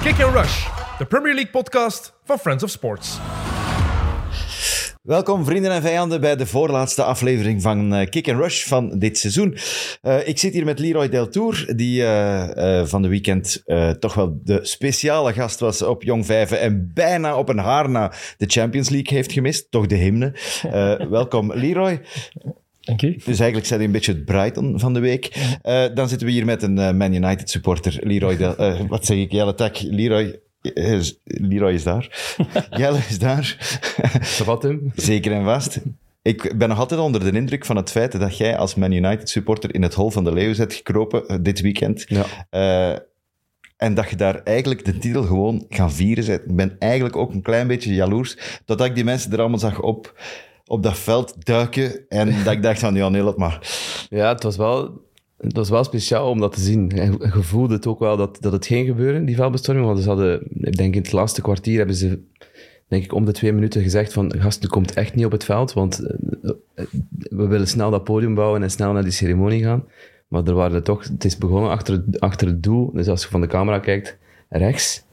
Kick and Rush, de Premier League podcast van Friends of Sports. Welkom vrienden en vijanden bij de voorlaatste aflevering van eh, Kick and Rush van dit seizoen. Eh, ik zit hier met Leroy Deltour, die eh, eh, van de weekend eh, toch wel de speciale gast was op Jong Vijven en bijna op een haar na de Champions League heeft gemist. Toch de hymne. Eh, welkom Leroy. Dank u. Dus eigenlijk zijn hij een beetje het Brighton van de week. Eh, dan zitten we hier met een eh, Man United supporter, Leroy. Del- eh, wat zeg ik? Jelle Tak, Leroy... eh, is- Leroy is daar. Jelle is daar. Savat hem. Zeker en vast. Ik ben nog altijd onder de indruk van het feit dat jij als Man United supporter in het hol van de leeuw zit gekropen eh, dit weekend. Eh, en dat je daar eigenlijk de titel gewoon gaan vieren bent. Ik ben eigenlijk ook een klein beetje jaloers dat ik die mensen er allemaal zag op, op dat veld duiken. En dat ik dacht van, ja, nee, laat maar. Ja, het was wel, het was wel speciaal om dat te zien. En je je voelde het ook wel dat, dat het ging gebeuren, die vuilbestorming. Want ze hadden, ik denk in het laatste kwartier hebben ze, denk ik, om de twee minuten gezegd van gasten, komt echt niet op het veld, want eh, eh, we willen snel dat podium bouwen en snel naar die ceremonie gaan. Maar er waren er toch, het is begonnen achter, het- achter het doel. Dus als je van de camera kijkt, rechts,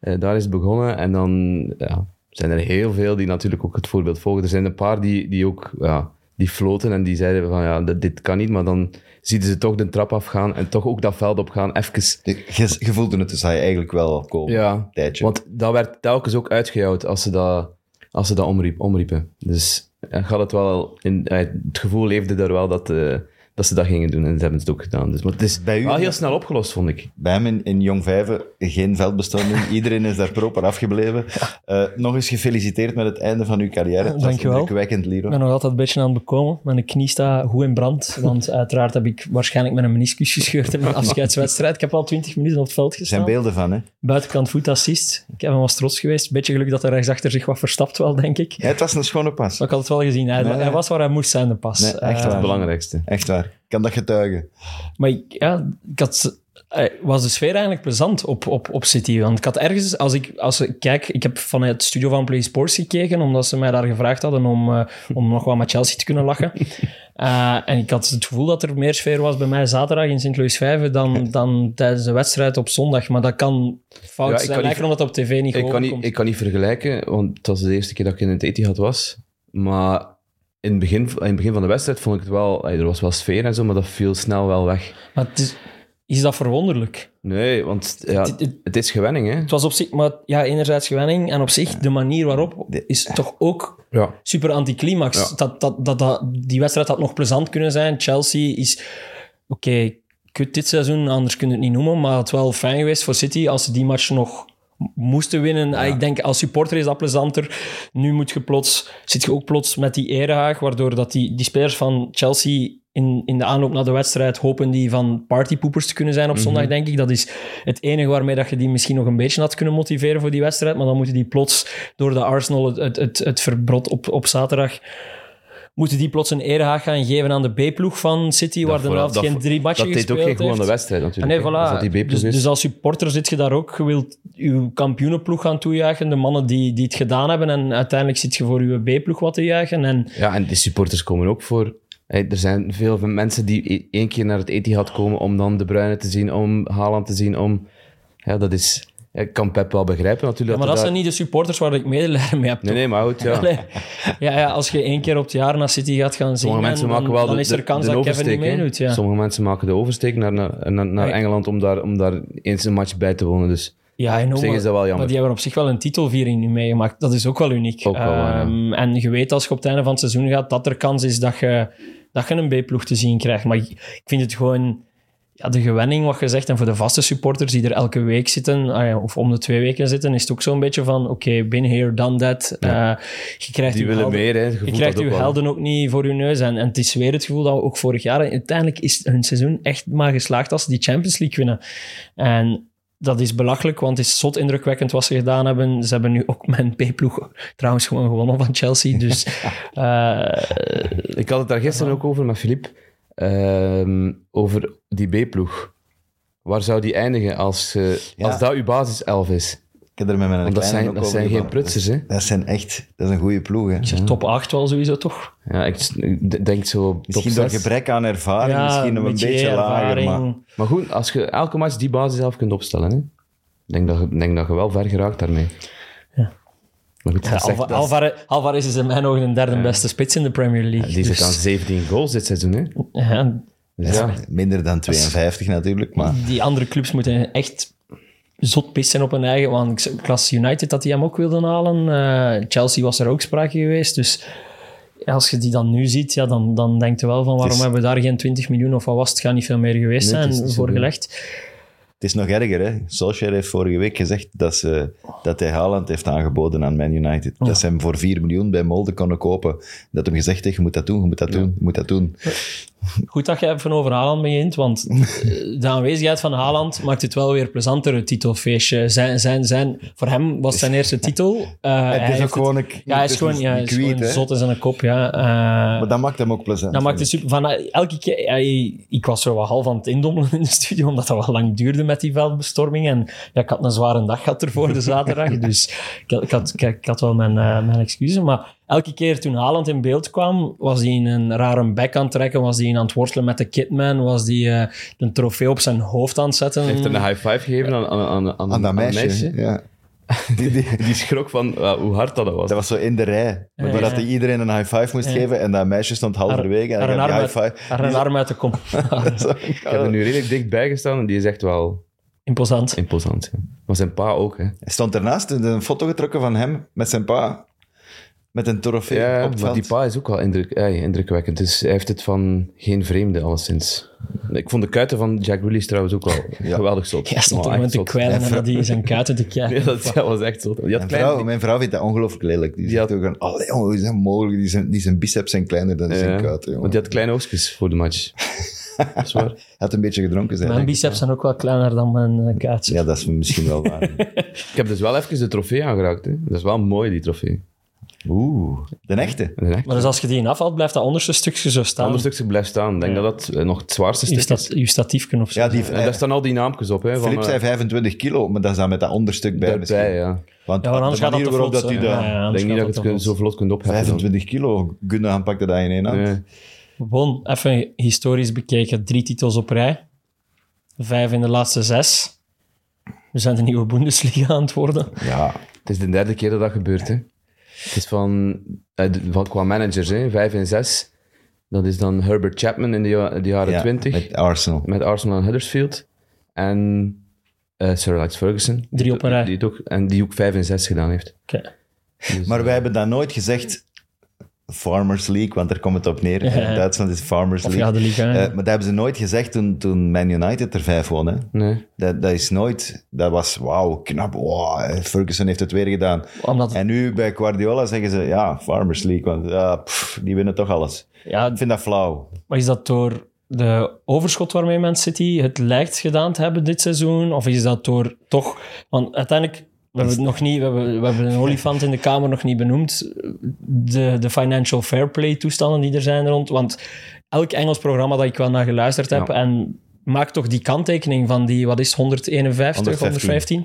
eh, daar is het begonnen. En dan ja, zijn er heel veel die natuurlijk ook het voorbeeld volgen. Er zijn een paar die, die ook ja, die floten en die zeiden van ja, dit, dit kan niet. Maar dan zieten ze toch de trap afgaan en toch ook dat veld opgaan. Even. Je, je voelde het dus dat je eigenlijk wel al komen. Ja, Tijdje. want dat werd telkens ook uitgejouwd als ze dat, als ze dat omriep, omriepen. Dus ja, gaat het wel in, eh, het gevoel leefde daar wel dat, eh, dat ze dat gingen doen en ze hebben ze het ook gedaan. Dus, maar het is Bij u- wel heel snel opgelost, vond ik. Bij hem in, in Jong Vijven geen veldbestanding. Iedereen is daar proper afgebleven. Eh, nog eens gefeliciteerd met het einde van uw carrière. Het was dankjewel. Indrukwekkend, Leroy. Ik ben nog altijd een beetje aan het bekomen. Mijn knie staat goed in brand. Want uiteraard heb ik waarschijnlijk mijn meniscus gescheurd in mijn afscheidswedstrijd. Ik heb al 20 minuten op het veld Er zijn gestaan. beelden van, hè? Buitenkant voetassist. Ik heb hem was trots geweest. Beetje geluk dat hij rechtsachter zich wat verstapt wel, denk ik. Ja, het was een schone pas. Maar ik had het wel gezien. Hij, Nee. hij was waar hij moest zijn, de pas. Nee, echt Eh, Dat is waar. het belangrijkste. Echt waar. Ik kan dat getuigen. Maar ik, ja, ik had, eh, was de sfeer eigenlijk plezant op, op, op City. Want ik had ergens, als ik, als ik kijk, ik heb vanuit het studio van Play Sports gekeken, omdat ze mij daar gevraagd hadden om, eh, om nog wat met Chelsea te kunnen lachen. Eh, en ik had het gevoel dat er meer sfeer was bij mij zaterdag in Sint-Louis 5 dan, dan tijdens de wedstrijd op zondag. Maar dat kan fout Ja, ik kan zijn, niet- lijken omdat het op tv niet Ik gewoon kan, komt. niet, ik kan niet vergelijken, want het was de eerste keer dat ik in het Etihad was. Maar in het begin, in het begin van de wedstrijd vond ik het wel... ey, Er was wel sfeer en zo, maar dat viel snel wel weg. Maar het is, is dat verwonderlijk? Nee, want ja, Het- het- het is gewenning, hè. Het was op zich, maar ja, enerzijds gewenning en op zich de manier waarop is toch ook Ja. super anticlimax. Ja. Dat, dat, dat, dat, die wedstrijd had nog plezant kunnen zijn. Chelsea is... Oké, kut dit seizoen, anders kun je het niet noemen. Maar het had wel fijn geweest voor City als ze die match nog moesten winnen. Ah, Ik denk, als supporter is dat plezanter. Nu moet je plots, zit je ook plots met die erehaag, waardoor dat die, die spelers van Chelsea... In, in de aanloop naar de wedstrijd hopen die van partypoepers te kunnen zijn op zondag, denk ik. Dat is het enige waarmee dat je die misschien nog een beetje had kunnen motiveren voor die wedstrijd. Maar dan moeten die plots door de Arsenal het, het, het, het verbrot op, op zaterdag moeten die plots een erehaag gaan geven aan de B-ploeg van City, waar de vooral- helft dat geen vo- drie matchen Dat deed ook gespeeld geen heeft. gewoon aan de wedstrijd, Ah, natuurlijk. nee, hè. Als voilà. dat die dus, B-plus is. dus als supporter zit je daar ook, je wilt je kampioenenploeg gaan toejuichen, de mannen die, die het gedaan hebben, en uiteindelijk zit je voor je B-ploeg wat te juichen. En Ja, en die supporters komen ook voor... ey, er zijn veel mensen die e- één keer naar het Etihad komen om dan De Bruyne te zien, om Haaland te zien, om... Ja, dat is... Ik kan Pep wel begrijpen, natuurlijk. maar dat er zijn daar- niet de supporters waar ik medelijden mee heb. Nee, nee, maar goed, ja. Allee, ja, ja, als je één keer op het jaar naar City gaat gaan zien, Sommige mensen dan, maken wel dan de, is er de- kans de dat Kevin oversteek, niet hè. meedoet. Ja. Sommige mensen maken de oversteek naar, naar, naar, naar Ja. Engeland om daar, om daar eens een match bij te wonen. Dus Ja, I know, Op zich maar- is dat wel jammer. Maar die hebben op zich wel een titelviering nu meegemaakt. Dat is ook wel uniek. Ook wel waar, ja. Ehm, En je weet als je op het einde van het seizoen gaat, dat er kans is dat je, dat je een B-ploeg te zien krijgt. Maar ik, ik vind het gewoon... Ja, de gewenning, wat je zegt, en voor de vaste supporters die er elke week zitten, ah ja, of om de twee weken zitten, is het ook zo'n beetje van, oké, been here, done that. Eh, je krijgt die uw willen helden- meer, hè. Je Je voelt krijgt dat uw ook wel. helden ook niet voor uw neus. En, en het is weer het gevoel dat we ook vorig jaar... Uiteindelijk is hun seizoen echt maar geslaagd als ze die Champions League winnen. En dat is belachelijk, want het is zot indrukwekkend wat ze gedaan hebben. Ze hebben nu ook mijn B-ploeg trouwens gewoon gewonnen van Chelsea. Dus eh, Ik had het daar gisteren ook over met Filip. Ehm, over die B-ploeg. Waar zou die eindigen als, eh, Ja. als dat uw basiself is? Ik heb er met mijn Want dat kleine zijn- ook dat over zijn geen gebabbeld. prutsers, hè? Dat zijn echt... Dat is een goede ploeg, hè? ik Hmm. zeg top 8 wel sowieso, toch? Ja, ik s- d- denk zo op top Misschien door zes. gebrek aan ervaring, misschien nog een beetje lager, maar... Maar goed, als je elke match die basiself kunt opstellen, hè. Ik denk dat, je- ik denk dat je wel ver geraakt daarmee. Ja. Maar goed, Ja, dat zegt- Alva- dat is- Alvarez- Alvarez is in mijn ogen de derde beste spits in de Premier League. die zit Dus, aan 17 goals dit seizoen, hè? ja, Dus ja, Minder dan 52 natuurlijk, maar... die andere clubs moeten echt zot pis zijn op hun eigen. Want ik zei, Klas United dat die hem ook wilden halen. eh, Chelsea was er ook sprake geweest. Dus ja, als je die dan nu ziet, ja, dan, dan denk je wel van waarom is- hebben we daar geen 20 miljoen of wat was het, gaat niet veel meer geweest Nee, het is zijn niet voor zoveel. gelegd. Het is nog erger, hè. Solskjaer heeft vorige week gezegd dat, ze, dat hij Haaland heeft aangeboden aan Man United. Dat ze hem voor 4 miljoen bij Molde konden kopen. Dat hem gezegd heeft, je moet dat doen, je moet dat doen, je moet dat doen. Goed dat je even over Haaland begint, want eh, de aanwezigheid van Haaland maakt het wel weer plezanter, het titelfeestje. Zijn, zijn, zijn, voor hem was zijn eerste titel. Eh, hij het is heeft ook gewoon een... Ja, hij is het gewoon, ja, hij een is kwiet, gewoon hè. zot in zijn kop, ja. Eh, Maar dat maakt hem ook plezant. dat maakt het super. Van, eh, elke keer, eh, ik was zo wat half aan het indommelen in de studio, omdat dat wel lang duurde met die veldbestorming. En ja, ik had een zware dag gehad ervoor, de zaterdag. dus ik, had- ik, had, ik, ik had wel mijn, eh, mijn excuses. Maar elke keer toen Haaland in beeld kwam, was hij in een rare bek aan het trekken. Was hij aan het worstelen met de Kidman. Was hij eh, een trofee op zijn hoofd aan het zetten. heeft er een high five gegeven aan, aan, aan, aan, Mm. Aan dat aan het meisje, ja. Die, die- Die schrok van eh, hoe hard dat was. dat was zo in de rij. Ja, Waar ja. dat hij iedereen een high five moest geven en dat meisje stond halverwege en Haar- hij haar gaf die arm high uit- five. haar een arm uit de kom. Ik Ik heb er nu redelijk dichtbij gestaan en die is echt wel Imposant. imposant. ja. Maar zijn pa ook, hè? Hij stond ernaast, een foto getrokken van hem met zijn pa. Met een trofee Ja, op het maar veld. die pa is ook wel indruk, eh, indrukwekkend. Dus hij heeft het van geen vreemde, alleszins. Ik vond de kuiten van Jack Willis trouwens ook wel geweldig zot. Ja, stond Maar op een echt te zot. kwijlen en dat hij zijn kuiten te kijken. Ja, dat, dat was echt zot. Die had Mijn kleine- vrouw, mijn vrouw vindt dat ongelooflijk lelijk. Die zegt ook van, allee jongen, hoe is dat mogelijk? Die zijn, die zijn biceps zijn kleiner dan die zijn Ja, kuiten, jongen. want die had kleine oogstjes voor de match. dat is waar. Hij had een beetje gedronken, zijn. Mijn biceps zijn ook wel kleiner dan mijn eh, kuiten. Ja, dat is misschien wel waar. Ik heb dus wel even de trofee aangeraakt. Hè. Dat is wel mooi, die trofee. Oeh, de echte. En echt, Maar dus als je die in afhaalt, blijft dat onderste stukje zo staan. ander stukje blijft staan. Ik denk dat dat eh, nog het zwaarste je, stat, stuk is. je statiefje of zo. Ja, die, En daar staan al die naampjes op. Hè, van, Filip eh, zei 25 kilo, maar daar is dan met dat onderstuk bij misschien. daarbij, ja. Want Ja, want de anders gaat dat manier te waarop vlot. dat u hè. dat Ja, ja, Ik anders denk niet dat gaat je het te kunt- zo vlot. vlot kunt opheffen. 25 kilo, Gunnar pakt dat in één hand. Nee. Gewoon even historisch bekeken. Drie titels op rij. Vijf in de laatste zes. We zijn de nieuwe Bundesliga aan het worden. Ja, Het is de derde keer dat dat gebeurt. Hè. Het is van, eh, de- van qua managers, hè, vijf en zes. Dat is dan Herbert Chapman in de, ja- de jaren ja, 20 met, met Arsenal. Arsenal en Huddersfield. En eh, Sir Alex Ferguson. Drie op een rij. Die het ook, en die ook vijf en zes gedaan heeft. Oké. Maar wij hebben dat nooit gezegd, Farmers League, want daar komt het op neer. In Duitsland is Farmers Of League. ja, de liga, ja. Eh, maar dat hebben ze nooit gezegd toen, toen Man United er vijf won. Hè. Nee. Dat, dat is nooit... Dat was, wauw, knap. Wow, Ferguson heeft het weer gedaan. Omdat, En nu bij Guardiola zeggen ze, ja, Farmers League, want ja, pff, die winnen toch alles. ja, Ik vind dat flauw. Maar is dat door de overschot waarmee Man City het lijkt gedaan te hebben dit seizoen? Of is dat door toch... Want uiteindelijk, we hebben, het nog niet, we hebben, we hebben een olifant in de kamer nog niet benoemd. De, de financial fair play toestanden die er zijn rond. Want elk Engels programma dat ik wel naar geluisterd heb... Ja. En maak toch die kanttekening van die, wat is 151, 115?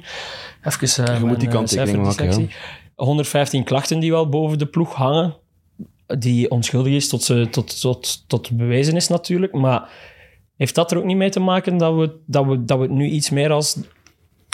115? Even, eh, Je moet mijn, die eh, kanttekening maken, cijferdissectie. 115 klachten die wel boven de ploeg hangen die onschuldig is tot, ze, tot, tot, tot bewezen is natuurlijk. Maar heeft dat er ook niet mee te maken dat we, dat we, dat we het nu iets meer als...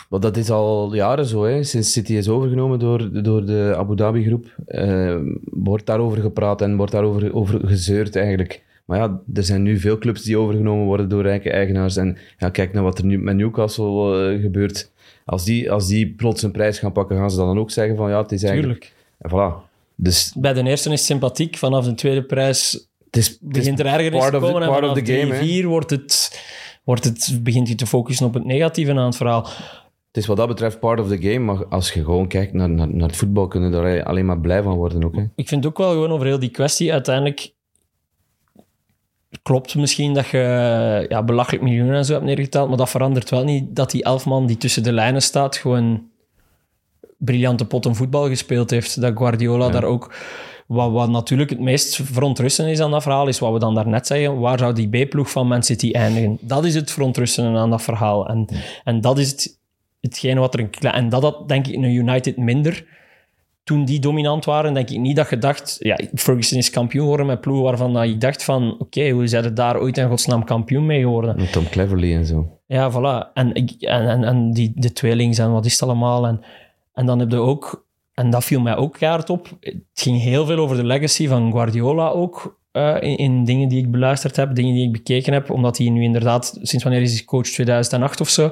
Want dat is al jaren zo, hè. sinds City is overgenomen door, door de Abu Dhabi groep. eh, wordt daarover gepraat en wordt daarover over gezeurd eigenlijk. Maar ja, er zijn nu veel clubs die overgenomen worden door rijke eigenaars. En ja, kijk naar wat er nu met Newcastle eh, gebeurt. Als die, als die plots een prijs gaan pakken, gaan ze dan ook zeggen van ja, het is eigenlijk... Tuurlijk. En voilà. Dus Bij de eerste is het sympathiek, vanaf de tweede prijs het is, het is begint er ergernis te part of the- komen. en part of vanaf the game, hè. drie, vier wordt het, wordt het, begint je te focussen op het negatieve aan het verhaal. Het is wat dat betreft part of the game, maar als je gewoon kijkt naar, naar, naar het voetbal, kunnen daar alleen maar blij van worden ook. Hè? Ik vind ook wel gewoon over heel die kwestie uiteindelijk... Klopt misschien dat je ja, belachelijk miljoenen en zo hebt neergeteld, maar dat verandert wel niet dat die elf man die tussen de lijnen staat gewoon briljante potten voetbal gespeeld heeft. Dat Guardiola daar ook... Wat, wat natuurlijk het meest verontrustend is aan dat verhaal, is wat we dan daarnet zeggen. Waar zou die B-ploeg van Man City eindigen? Dat is het verontrustende aan dat verhaal. En, en dat is het, hetgene wat er een... kle- En dat had, denk ik, een United minder toen die dominant waren, denk ik niet dat je dacht... Ja, Ferguson is kampioen geworden met ploegen waarvan dat ik dacht van... Oké, hoe zijn er daar ooit in godsnaam kampioen mee geworden? Met Tom Cleverley en zo. Ja, voilà. En, ik- en, en, en die, de tweelings en wat is het allemaal. En, en dan heb je ook, en dat viel mij ook kaart op, het ging heel veel over de legacy van Guardiola ook, eh, in, in dingen die ik beluisterd heb, dingen die ik bekeken heb, omdat hij nu inderdaad, sinds wanneer is hij coach? 2008 of zo,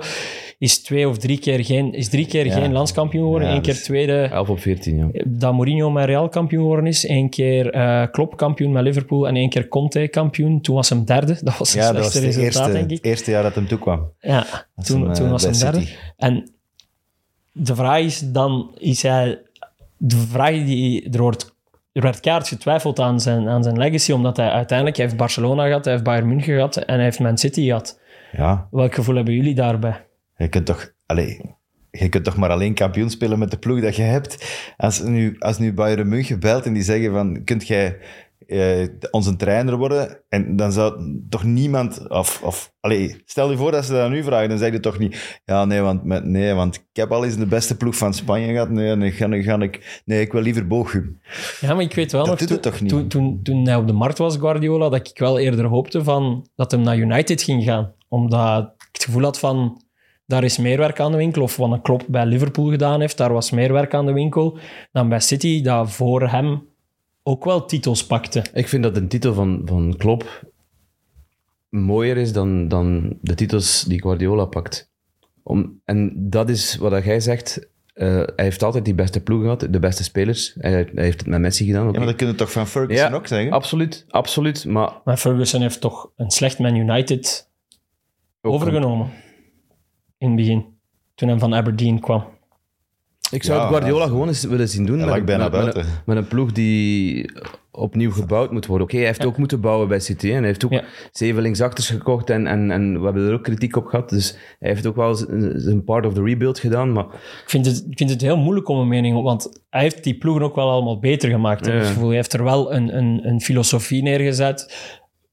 is twee of drie keer geen, is drie keer geen landskampioen geworden, Ja, één keer dus- tweede, 11 op 14, ja. dat Mourinho met Real kampioen geworden is, één keer eh Klopp kampioen met Liverpool en één keer Conte kampioen, toen was hem derde, dat was zijn Ja, dat was slechtste de resultaat, eerste, denk ik. het eerste jaar dat hem toekwam. Ja, Dat toen, hem, eh, toen was bij hij derde. City. En de vraag is dan, is hij... De vraag die... Er wordt, er werd kaart getwijfeld aan zijn, aan zijn legacy, omdat hij uiteindelijk... Hij heeft Barcelona gehad, hij heeft Bayern München gehad en hij heeft Man City gehad. Ja, Welk gevoel hebben jullie daarbij? je kunt toch... Allee, je kunt toch maar alleen kampioen spelen met de ploeg dat je hebt. Als nu, als nu Bayern München belt en die zeggen van... Kunt jij eh, onze trainer worden? En dan zou toch niemand... Of, of, allee, stel je voor dat ze dat aan u vragen, dan zeg je toch niet... Ja, nee want, met, nee, want ik heb al eens de beste ploeg van Spanje gehad. Nee, nee, ga, ga ik, nee ik wil liever Bochum. Ja, maar ik weet wel Dat nog... doet toen- het toch niet? Toen, toen, toen hij op de markt was, Guardiola, dat ik wel eerder hoopte van, dat hem naar United ging gaan. Omdat ik het gevoel had van... Daar is meer werk aan de winkel. Of wat een klop bij Liverpool gedaan heeft, daar was meer werk aan de winkel. Dan bij City, dat voor hem ook wel titels pakte. Ik vind dat de titel van, van Klopp mooier is dan, dan de titels die Guardiola pakt. Om, en dat is wat dat jij zegt. eh, hij heeft altijd die beste ploeg gehad, de beste spelers. Hij, hij heeft het met Messi gedaan. oké. Ja, maar dat kunnen toch van Ferguson ook zeggen? absoluut, absoluut. Maar ook Maar Ferguson heeft toch een slecht Man United overgenomen. In het begin. Toen hij van Aberdeen kwam. Ik zou Ja, het Guardiola dat- gewoon eens willen zien doen. Hij met, lag bijna met- met- buiten. Met, een ploeg die opnieuw gebouwd moet worden. Oké, hij heeft ook moeten bouwen bij City. hè. En hij heeft ook Ja. zeven linksachters gekocht. En, en, en we hebben er ook kritiek op gehad. Dus hij heeft ook wel zijn zijn part of the rebuild gedaan. Maar Ik vind, het, ik vind het heel moeilijk om een mening op, want hij heeft die ploegen ook wel allemaal beter gemaakt. heb ik Ja. het gevoel. Hij heeft er wel een, een, een filosofie neergezet.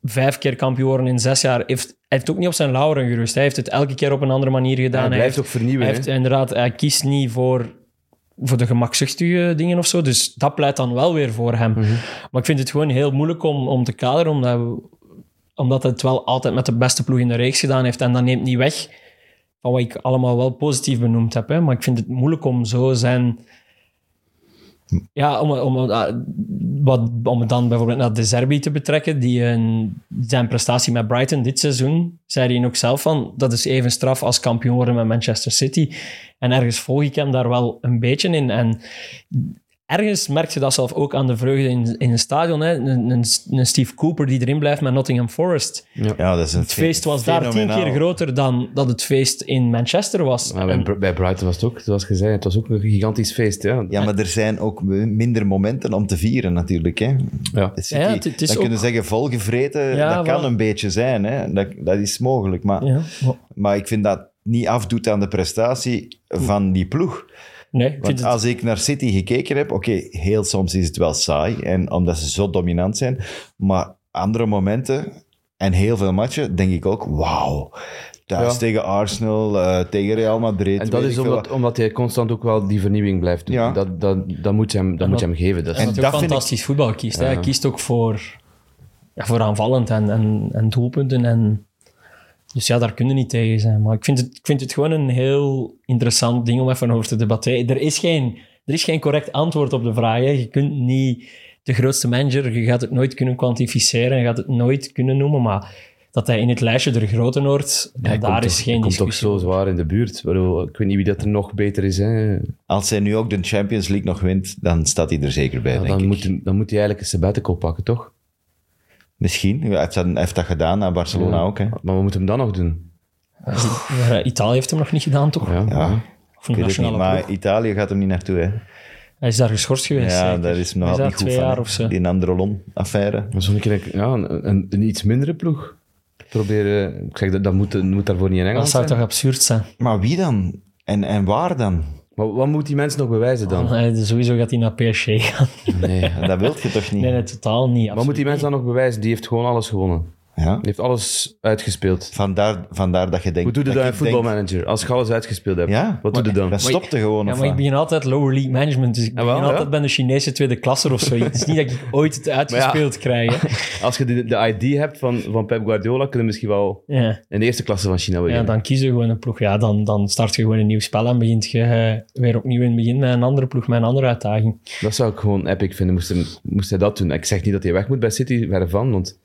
Vijf keer kampioen worden in zes jaar. Hij heeft, hij heeft ook niet op zijn lauren gerust. Hij heeft het elke keer op een andere manier gedaan. hij blijft heeft- ook vernieuwen, Hij hè? heeft, inderdaad, hij kiest niet voor, voor de gemakzuchtige dingen of zo. Dus dat pleit dan wel weer voor hem. Mhm. Maar ik vind het gewoon heel moeilijk om, om te kaderen, omdat, we- omdat hij het wel altijd met de beste ploeg in de reeks gedaan heeft. En dat neemt niet weg van wat ik allemaal wel positief benoemd heb. Hè? Maar ik vind het moeilijk om zo zijn... Ja, om, om, ah, wat, om het dan bijvoorbeeld naar De Zerbi te betrekken, die een, zijn prestatie met Brighton dit seizoen, zei hij ook zelf van, dat is even straf als kampioen worden met Manchester City. En ergens volg ik hem daar wel een beetje in. En ergens merk je dat zelf ook aan de vreugde in, in het stadion. Hè? Een, een, een Steve Cooper die erin blijft met Nottingham Forest. Ja, dat is een Het feest was daar tien keer groter dan dat het feest in Manchester was. Maar bij, bij Brighton was het ook, zoals gezegd, het was ook een gigantisch feest. Ja. Ja, maar er zijn ook minder momenten om te vieren natuurlijk. Hè. Ja. City, Ja, het- het is dat kunnen ook- zeggen, volgevreten, Ja, dat kan voilà. een beetje zijn. Hè. Dat, dat is mogelijk. Maar, Ja, maar- maar ik vind dat niet afdoet aan de prestatie van die ploeg. nee, ik vind Want het- als ik naar City gekeken heb, oké, heel soms is het wel saai, en omdat ze zo dominant zijn. Maar andere momenten en heel veel matchen, denk ik ook, wauw. Thuis Ja. tegen Arsenal, eh, tegen Real Madrid. En dat weet is ik veel omdat, omdat hij constant ook wel die vernieuwing blijft doen. Ja. Dat, dat, dat moet je hem, dat moet je hem geven. Dat is- en dat hij dat ook vind ik- fantastisch voetbal kiest. hè. Hij kiest ook voor, ja, voor aanvallend en, en, en doelpunten. En, dus ja, daar kunnen niet tegen zijn. Maar ik vind, het, ik vind het gewoon een heel interessant ding om even over te debatteren. Er is geen, er is geen correct antwoord op de vraag. hè. Je kunt niet de grootste manager, je gaat het nooit kunnen kwantificeren, je gaat het nooit kunnen noemen, maar dat hij in het lijstje er groter wordt, hij daar komt is toch- geen komt toch discussie. zo zwaar in de buurt. Ik bedoel, Ik weet niet wie dat er nog beter is. Hè. Als hij nu ook de Champions League nog wint, dan staat hij er zeker bij, Ja, denk dan, ik. moet, hij- dan moet hij eigenlijk een sabbatical pakken, toch? Misschien. Hij heeft dat, hij heeft dat gedaan aan Barcelona ook. Hè. Maar we moeten hem dan nog doen. Maar Eh, Italië heeft hem nog niet gedaan, toch? Ja. Ja, Of een ik weet het niet. nationale Maar ploeg. Italië gaat hem niet naartoe. Hè. Hij is daar geschorst geweest. Ja, zeker? daar is hem nog Hij altijd daar niet goed twee van. jaar hè. of zo. Die Andrelon-affaire. Maar zo'n keer ja, een, een, een iets mindere ploeg proberen. Ik zeg, dat, dat moet, moet daarvoor niet in Dat Engeland zou zijn. toch absurd zijn? Maar wie dan? En, en waar dan? Maar wat moet die mensen nog bewijzen dan? Nee, dus sowieso gaat hij naar PSG gaan. Nee. Dat wil je toch niet? Nee, nee, totaal niet. Wat absoluut. moet die mensen dan nog bewijzen? Die heeft gewoon alles gewonnen. Ja? Die heeft alles uitgespeeld. Vandaar, vandaar dat je denkt... Hoe doe je dat in ik denk- voetbalmanager? Als je alles uitgespeeld hebt, Ja, wat doe je dan? Dat stopte gewoon. Ja, of maar ik wat? begin altijd lower league management, dus ik Ah, begin wel, ja. altijd bij de Chinese tweede klasser of zoiets. Het is niet dat ik ooit het uitgespeeld krijg. hè. Als je de, de ID hebt van, van Pep Guardiola, kun je misschien wel Ja. in de eerste klasse van China ja, beginnen. dan kies je gewoon een ploeg. Ja, dan, dan start je gewoon een nieuw spel en begint je eh, weer opnieuw in het begin met een andere ploeg, met een andere uitdaging. Dat zou ik gewoon epic vinden, moest hij, moest hij dat doen. Ik zeg niet dat hij weg moet bij City, verre van, want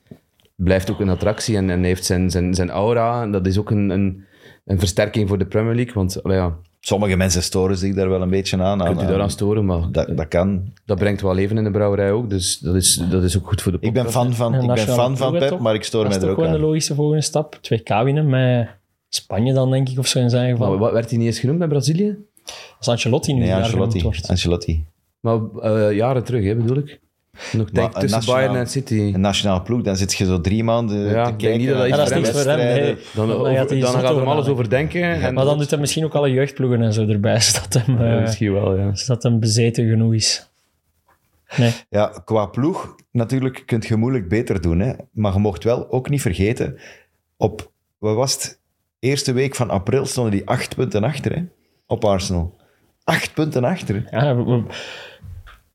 het blijft ook een attractie en, en hij heeft zijn, zijn, zijn aura. En dat is ook een, een, een versterking voor de Premier League, want allee ja, Sommige mensen storen zich daar wel een beetje aan. kunt u aan- daaraan storen, maar dat, dat, dat kan. brengt wel leven in de brouwerij ook, dus dat is, dat is ook goed voor de Ik ben podcast. fan van, Een ik ben nationale fan van ploeg, hè, Pep, toch? maar ik stoor Dat mij is er toch ook gewoon de aan. logische volgende stap. 2K winnen met Spanje dan, denk ik, of zo in zijn geval. Maar wat werd hij niet eens genoemd bij Brazilië? Als Ancelotti nu Nee, daar Ancelotti. genoemd wordt. Ancelotti. Maar eh, jaren terug, hè, bedoel ik. Nog denk een tussen nationaal- Bayern en City. Een nationale ploeg, dan zit je zo drie maanden Ja, te ik denk kijken. niet dat dat naar iets Ja, dat is niks voor hem. wedstrijden. nee. Dan, Dan over- gaat hij dan zot gaat hij hem alles overhalen. overdenken. En Maar dan doet hij misschien ook alle jeugdploegen en zo erbij, zodat hem, Ja, eh, misschien wel, ja. zodat hem bezeten genoeg is. Nee. Ja, qua ploeg natuurlijk kun je moeilijk beter doen. Hè? Maar je mocht wel ook niet vergeten, op, wat was het? Eerste week van april stonden die acht punten achter hè? op Arsenal. Acht punten achter. hè. Ja, we, we-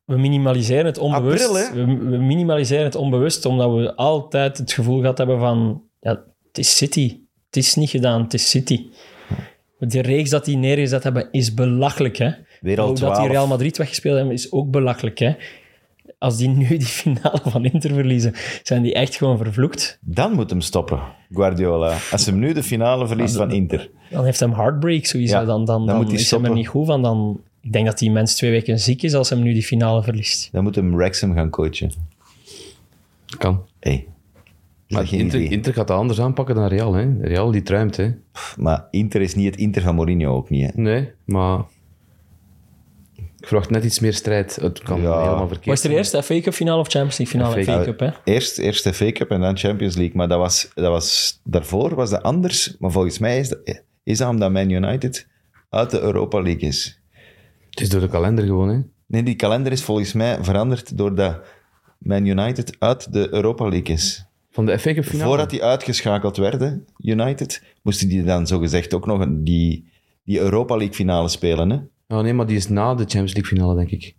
we minimaliseren het onbewust. April, hè? we, we minimaliseren het onbewust omdat we altijd het gevoel gehad hebben van... Ja, het is City. Het is niet gedaan, het is City. De reeks dat die neergezet hebben is belachelijk. Hè? Weer al Ook dat die 12. Real Madrid weggespeeld hebben is ook belachelijk. Hè? Als die nu die finale van Inter verliezen, zijn die echt gewoon vervloekt. Dan moet hem stoppen, Guardiola. Als hem nu de finale verliest van Inter. Dan heeft hem heartbreak sowieso. Ja, dan dan, dan dan moet hij is hem er stoppen. niet goed van. Dan, ik denk dat die mens twee weken ziek is als hem nu die finale verliest. Dan moet hem Wrexham gaan coachen. Kan. Hey. Maar Maar, geen Inter, idee. Inter gaat dat anders aanpakken dan Real. Hè. Real die truimt. Hè. maar Inter is niet het Inter van Mourinho ook niet. Hè. Nee, maar ik verwacht net iets meer strijd. Het kan Ja. helemaal verkeerd. Was het er eerst de FA Cup finale of Champions League finale? FA FA Cup, hè? Eerst, eerst de FA Cup en dan Champions League. Maar dat was, dat was, daarvoor was dat anders. Maar volgens mij is dat, is dat omdat Man United uit de Europa League is. Het is door de kalender gewoon. Hè. Nee, die kalender is volgens mij veranderd doordat Man United uit de Europa League is. Van de FA Cup finale. Voordat die uitgeschakeld werden, United, moesten die dan zogezegd ook nog een- die, die Europa League finale spelen. Hè? Oh, nee, maar die is na de Champions League finale, denk ik.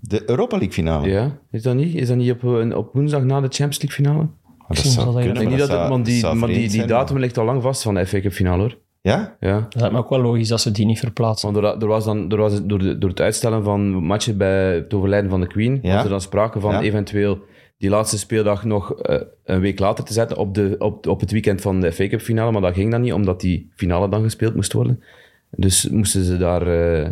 De Europa League finale. Ja, is dat niet? Is dat niet op, eh, op woensdag na de Champions League finale? Maar Misschien zal dat- Ik denk niet dat, het- zou- want die, zou maar die, vreemd die zijn, maar- datum ligt al lang vast van de FA Cup finale hoor. Ja? Ja. Dat lijkt me ook wel logisch dat ze die niet verplaatsen. Want er, er was dan, er was, door, de- door het uitstellen van matchen bij het overlijden van de Queen, Ja. was er dan sprake van Ja. eventueel die laatste speeldag nog eh, een week later te zetten op, de, op, op het weekend van de FA Cup finale. Maar dat ging dan niet, omdat die finale dan gespeeld moest worden. Dus moesten ze daar eh,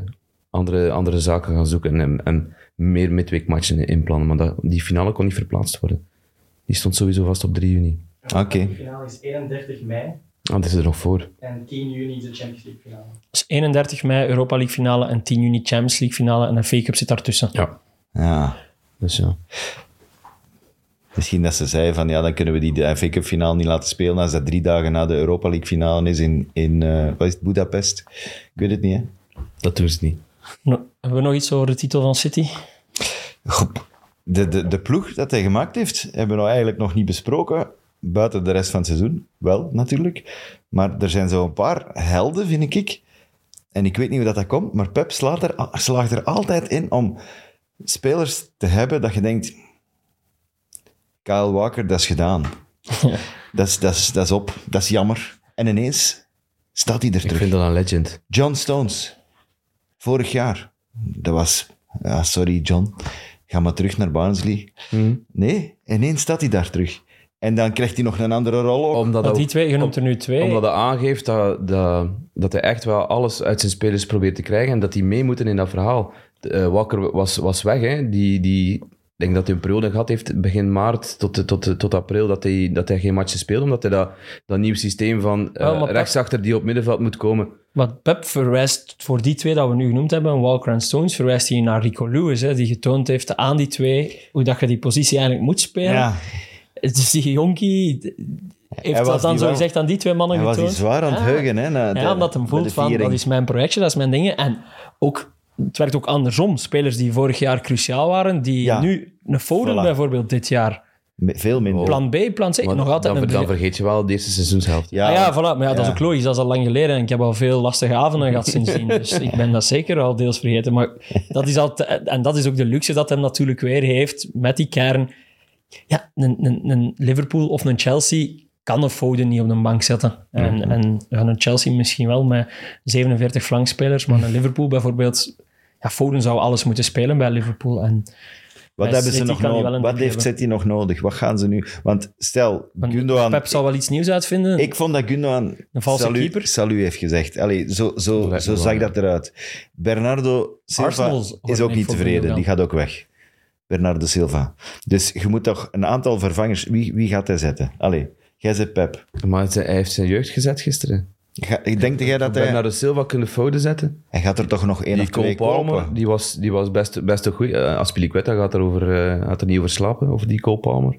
andere, andere zaken gaan zoeken en, en meer midweekmatchen inplannen. Maar dat, die finale kon niet verplaatst worden. Die stond sowieso vast op 3 juni. Oké. De finale is 31 mei Ah, dat is er nog voor. en 10 juni is de Champions League finale. Dus 31 mei Europa League finale en 10 juni Champions League finale en een FA Cup zit daartussen. Ja. Ja. Dus ja. Misschien dat ze zei van ja, dan kunnen we die de FA Cup finale niet laten spelen als dat drie dagen na de Europa League finale is in, in eh, wat is het, Budapest. Ik weet het niet, hè. Dat doen ze niet. No- hebben we nog iets over de titel van City? Goh, De, de, de ploeg dat hij gemaakt heeft, hebben we nou eigenlijk nog niet besproken. Buiten de rest van het seizoen, wel natuurlijk. Maar er zijn zo'n paar helden, vind ik. En ik weet niet hoe dat, dat komt, maar Pep slaat er, al- slaagt er altijd in om spelers te hebben dat je denkt... Kyle Walker, dat is gedaan. dat, is, dat, is, dat is op. Dat is jammer. En ineens staat hij er Ik terug. vind dat een legend. John Stones. Vorig jaar. Dat was... Ja, sorry, John. Ga maar terug naar Barnsley. Hmm. Nee, ineens staat hij daar terug. En dan krijgt hij nog een andere rol ook. Omdat Want die dat twee, je noemt er nu twee. Omdat hij aangeeft dat, dat, dat hij echt wel alles uit zijn spelers probeert te krijgen en dat die mee moeten in dat verhaal. De, eh, Walker was, was weg, hè. Die, die, ik denk dat hij een periode gehad heeft, begin maart tot, eh, tot, tot april, dat hij, dat hij geen matchen speelde, omdat hij dat, dat nieuw systeem van eh, Wel, Oh, maar dat- rechtsachter die op middenveld moet komen. Maar Pep verwijst voor die twee dat we nu genoemd hebben, Walker en Stones, verwijst hij naar Rico Lewis, hè, die getoond heeft aan die twee hoe dat je die positie eigenlijk moet spelen. Ja, Dus die jonkie d- heeft was dat dan die zo wel- gezegd aan die twee mannen hij was getoond. Ah, hier zwaar aan het Ja. heugen. Hè, na de- Ja, omdat hem na de voelt van, viering. dat is mijn projectje, dat is mijn dingen. En ook, het werkt ook andersom. Spelers die vorig jaar cruciaal waren, die Ja. nu een Foden Voilà. bijvoorbeeld dit jaar. Me- Veel minder. Plan B, plan C, Maar nog altijd dan, een ver- dan vergeet je wel de eerste seizoenshelft. Ja, ah, ja, voilà. Maar ja, dat is ook logisch. Dat is al lang geleden en ik heb al veel lastige avonden gehad sindsdien. Dus ik ben dat zeker al deels vergeten. Maar dat is altijd, en dat is ook de luxe dat hem natuurlijk weer heeft met die kern. Ja, een, een, een Liverpool of een Chelsea kan een Foden niet op de bank zetten. En, en ja, een Chelsea misschien wel met 47 flankspelers, maar een Liverpool bijvoorbeeld... Ja, Foden zou alles moeten spelen bij Liverpool. En Wat, Bij hebben ze City nog kan hij nodig? wel een Wat druk heeft hebben. City nog nodig? Wat gaan ze nu... Want stel, want Gundogan... Pep zal wel iets nieuws uitvinden. Ik vond dat Gundogan Een valse salu, keeper. salu heeft gezegd. Allee, zo Dat zo, lijkt zo me wel, zag ja. dat eruit. Bernardo Silva Arsenal hoort is ook mij niet voor tevreden. Gundogan. Die gaat ook weg. Bernardo Silva. Dus je moet toch een aantal vervangers... Wie, wie gaat hij zetten? Allee, jij zet Pep. Maar het- hij heeft zijn jeugd gezet gisteren. Ga, ik denk jij dat hij... Bernardo Silva kunnen fouten zetten. Hij gaat er toch nog één of Die Cole twee Palmer, kopen? die was, die was best, best een goeie. Eh, Aspilicueta gaat, erover, eh, gaat er niet over slapen, over die Cole Palmer.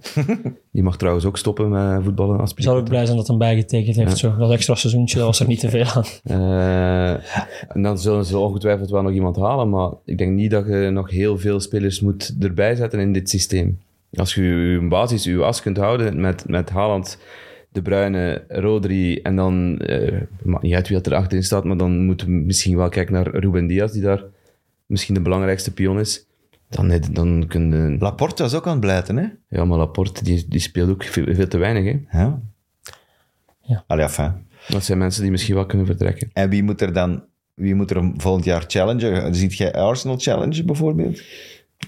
die mag trouwens ook stoppen met voetballen, Ik zou Aspilicueta. ook blij zijn dat hem bijgetekend heeft. Zo. Dat extra seizoentje, dat was er niet te veel aan. Eh, en dan zullen ze ongetwijfeld wel nog iemand halen, maar ik denk niet dat je nog heel veel spelers moet erbij zetten in dit systeem. Als je je basis, je as kunt houden met, met Haaland, De Bruyne, Rodri en dan, eh maakt niet uit wie dat er achterin staat, maar dan moeten we misschien wel kijken naar Ruben Diaz, die daar misschien de belangrijkste pion is. Dan, eh, dan kun je... Laporte was ook aan het blijten, hè? Ja, maar Laporte, die, die speelt ook veel, veel te weinig. Hè? Ja. Ja. Allee, enfin. Dat zijn mensen die misschien wel kunnen vertrekken. En wie moet er dan... Wie moet er volgend jaar challengen? Ziet jij Arsenal challengen, bijvoorbeeld?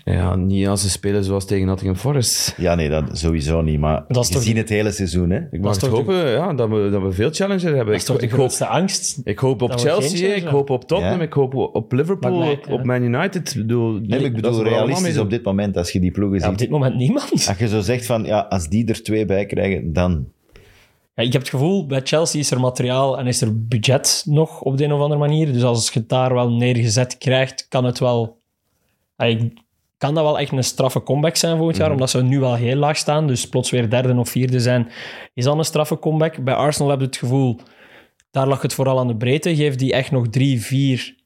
Ja, niet als ze spelen zoals tegen Nottingham Forest. Ja, nee, dat sowieso niet. Maar Dat is toch- gezien het hele seizoen, hè? Ik mag is het toch de- hopen ja, dat, we, dat we veel challenger hebben. Dat is Ik, toch de ik, hoop, grootste angst? ik hoop op dat we geen Chelsea, ik challenger hoop op Tottenham, Ja. ik hoop op Liverpool, Maar lijkt, hè. op Man United. Ik bedoel, Nee, maar ik dat bedoel we er allemaal realistisch mee op dit moment, als je die ploegen Ja, op ziet. dit moment niemand. Als je zo zegt van, ja, als die er twee bij krijgen, dan... Ja, ik heb het gevoel, bij Chelsea is er materiaal en is er budget nog op de een of andere manier. Dus als je het daar wel neergezet krijgt, kan het wel... Allee, kan dat wel echt een straffe comeback zijn volgend Mhm. jaar, omdat ze nu wel heel laag staan. Dus plots weer derde of vierde zijn, is dan een straffe comeback. Bij Arsenal heb je het gevoel, daar lag het vooral aan de breedte. Geef die echt nog drie, vier...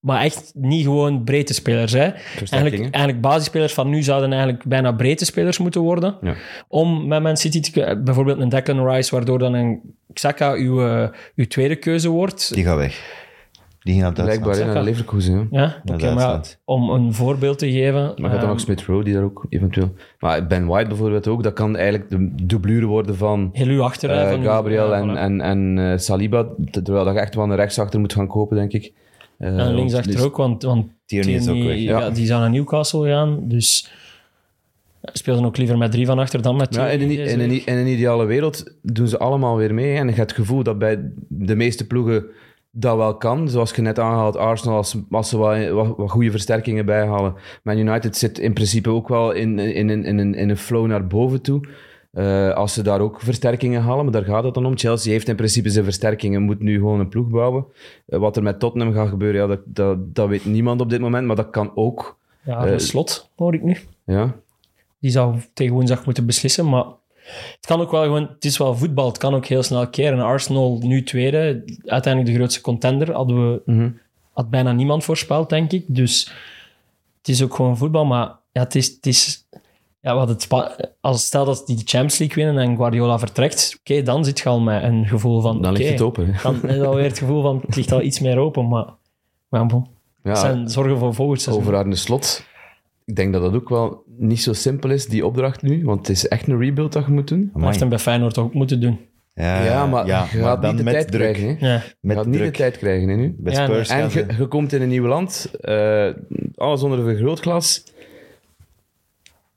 Maar echt niet gewoon breedte spelers. Hè. Eigenlijk, hè? eigenlijk basisspelers van nu zouden eigenlijk bijna breedte spelers moeten worden doen. Ja. om met Man City te kunnen. Bijvoorbeeld een Declan Rice, waardoor dan een Xhaka uw, eh, uw tweede keuze wordt. Die gaat weg. Die gaat naar Blijkbaar Duitsland. hè, naar Leverkusen. Ja. Ja, oké, Inderdaad, maar want- om een voorbeeld te geven. Maar gaat dan ehm, ook Smith Rowe, die daar ook eventueel... Maar Ben White bijvoorbeeld ook, dat kan eigenlijk de dublure worden van heel uw achterrij. eh, van uw- Gabriel ja, en, voilà. en, en eh, Saliba. Terwijl dat je echt wel een rechtsachter moet gaan kopen, denk ik. Eh, En want- linksachter dus- ook, want, want Tierney is ook weg. ja. ja. die zou naar Newcastle gaan. Dus speelden ook liever met drie van achter dan met Ja, in, een, Tierney i- deze in, een, week. i- in een ideale wereld doen ze allemaal weer mee. En je hebt het gevoel dat bij de meeste ploegen dat wel kan. Zoals je net aangehaald, Arsenal, als, als ze wat, wat, wat goede versterkingen bijhalen. Man United zit in principe ook wel in, in, in, in, een- in een flow naar boven toe. Eh, als ze daar ook versterkingen halen, maar daar gaat het dan om. Chelsea heeft in principe zijn versterkingen, moet nu gewoon een ploeg bouwen. Eh, wat er met Tottenham gaat gebeuren, ja, dat, dat, dat weet niemand op dit moment, maar dat kan ook. Ja, een eh, slot hoor ik nu. Ja. Die zou tegen woensdag moeten beslissen. Maar het kan ook wel gewoon... Het is wel voetbal. Het kan ook heel snel keren. Arsenal nu tweede. Uiteindelijk de grootste contender. Hadden we... Mhm. Had bijna niemand voorspeld, denk ik. Dus het is ook gewoon voetbal. Maar ja, het is... Het is ja, wat het spa- als stel dat die de Champions League winnen en Guardiola vertrekt, oké, dan zit je al met een gevoel van... Dan ligt oké, het open. hè. Dan is alweer het gevoel van, het ligt al iets meer open, maar... Maar bon, Ja. het zijn zorgen voor volgend seizoen. over Arne Slot. Ik denk dat dat ook wel niet zo simpel is, die opdracht nu. Want het is echt een rebuild dat je moet doen. Dat heeft hem bij Feyenoord toch ook moeten doen. Ja, ja, maar Eh, ja, je maar gaat dan niet de met tijd druk. krijgen. Hè. Ja. Je Met gaat niet druk. de tijd krijgen hè, nu. Bij Ja, nee. Spurs En gaan je, ze- je komt in een nieuw land. eh, alles onder een vergrootglas.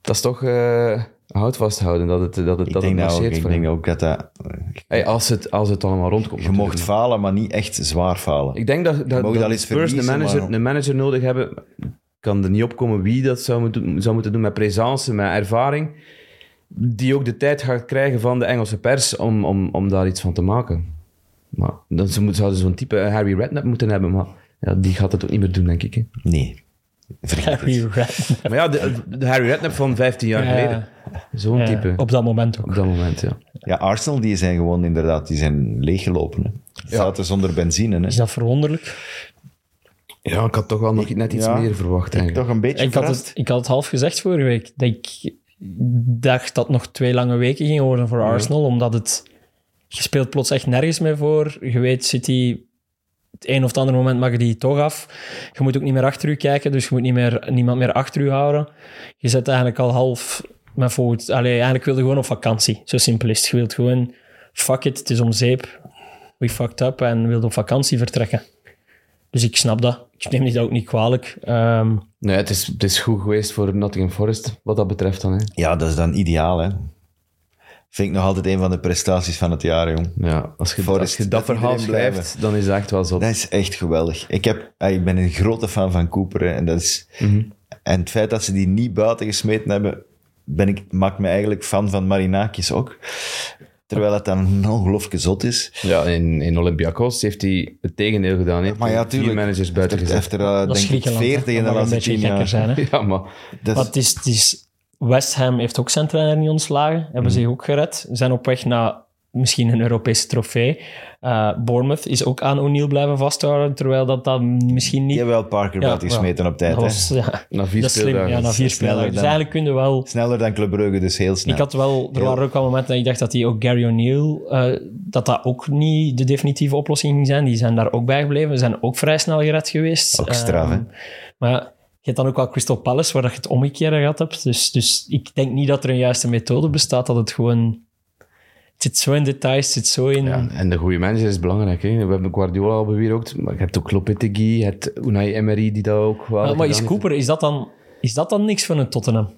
Dat is toch... eh hout vasthouden dat het, dat het, Ik dat het denk dat ook, marcheert ik voor denk hem. ook dat dat... eh, Hey, als, het, als het allemaal rondkomt. Je natuurlijk. mocht falen, maar niet echt zwaar falen. Ik denk dat, dat, mag dat al eens Spurs een verliezen, manager, maar- een manager nodig hebben. Ik kan er niet opkomen wie dat zou moeten, zou moeten doen met presence, met ervaring. Die ook de tijd gaat krijgen van de Engelse pers om, om, om daar iets van te maken. Maar dan ze moeten- zouden zo'n type Harry Redknapp moeten hebben, maar ja, die gaat dat ook niet meer doen, denk ik. hè. Nee. Vergeet het. Harry Redknapp. Maar ja, de, de Harry Redknapp van 15 jaar Ja. geleden. Zo'n Ja, type. Op, Op dat moment ook. dat moment, ja. Ja, Arsenal die zijn gewoon inderdaad die zijn leeggelopen. Hè. Zaten zonder benzine. Hè. Is dat verwonderlijk? Ja, ik had toch wel nog net iets ja, meer Ik verwacht, eigenlijk. toch een beetje Ik had, verrast. het, ik had het half gezegd vorige week. Dat ik, dacht dat nog twee lange weken ging worden voor Arsenal, omdat het... Je speelt plots echt nergens meer voor. Je weet, City... Het een of het andere moment mag je die toch af. Je moet ook niet meer achter u kijken, dus je moet niet meer, niemand meer achter u houden. Je zit eigenlijk al half met voet. Allee, eigenlijk wilde gewoon op vakantie. Zo simpel is het. Je wilt gewoon... Fuck it, het is om zeep. We fucked up en wilde op vakantie vertrekken. Dus ik snap dat. Ik neem dit ook niet kwalijk. Ehm, Nee, het is, het is goed geweest voor Nottingham Forest, wat dat betreft dan. Hè. Ja, dat is dan ideaal, hè. Vind ik nog altijd een van de prestaties van het jaar, jong. Ja, als je, Forest, als je dat dat verhaal iedereen blijven. schrijft, dan is het echt wel zo. Dat is echt geweldig. Ik, heb, ah, ik ben een grote fan van Cooper. hè, en, dat is, en het feit dat ze die niet buiten gesmeten hebben, ben ik, maakt me eigenlijk fan van Marinakis ook. Terwijl het dan ongelooflijk zot is. Ja, in, in Olympiakos heeft hij het tegendeel gedaan. Hè. Maar ja, Vier tuurlijk. managers buiten Heeft er- gezet. heeft er, eh, dat is denk ik, Griekenland. hè. 40 in de Dat mag laatste een tien beetje gekker jaar. zijn, hè. Ja, maar Dat is- Maar het is, het is- West Ham heeft ook zijn trainer niet ontslagen. Hebben Mhm. zich ook gered. Zijn op weg naar misschien een Europese trofee. Eh, Bournemouth is ook aan O'Neill blijven vasthouden, terwijl dat, dat misschien die niet... hebben wel Parker Ja, buiten gesmeten op tijd. dat hè. was, ja, na vier dat is slim. speeldagen. Ja, na vier Sneller speeldagen. Dus dan- eigenlijk kun je wel... Sneller dan Club Brugge, dus heel snel. Ik had wel, er Heel- waren ook al momenten dat ik dacht dat die ook Gary O'Neill, eh, dat dat ook niet de definitieve oplossing ging zijn. Die zijn daar ook bij gebleven. Ze zijn ook vrij snel gered geweest. Ook straf, Ehm, hè? Maar ja, je hebt dan ook wel Crystal Palace, waar dat je het omgekeerde gehad hebt. Dus, dus ik denk niet dat er een juiste methode bestaat, dat het gewoon... Het zit zo in details, het zit zo in... Ja, en de goede manager is belangrijk. Hè. We hebben Guardiola al bewierookt, maar je hebt ook Lopetegui, je hebt Unai Emery die dat ook wel... maar maar is gedaan Cooper, is dat, dan, is dat dan niks van een Tottenham?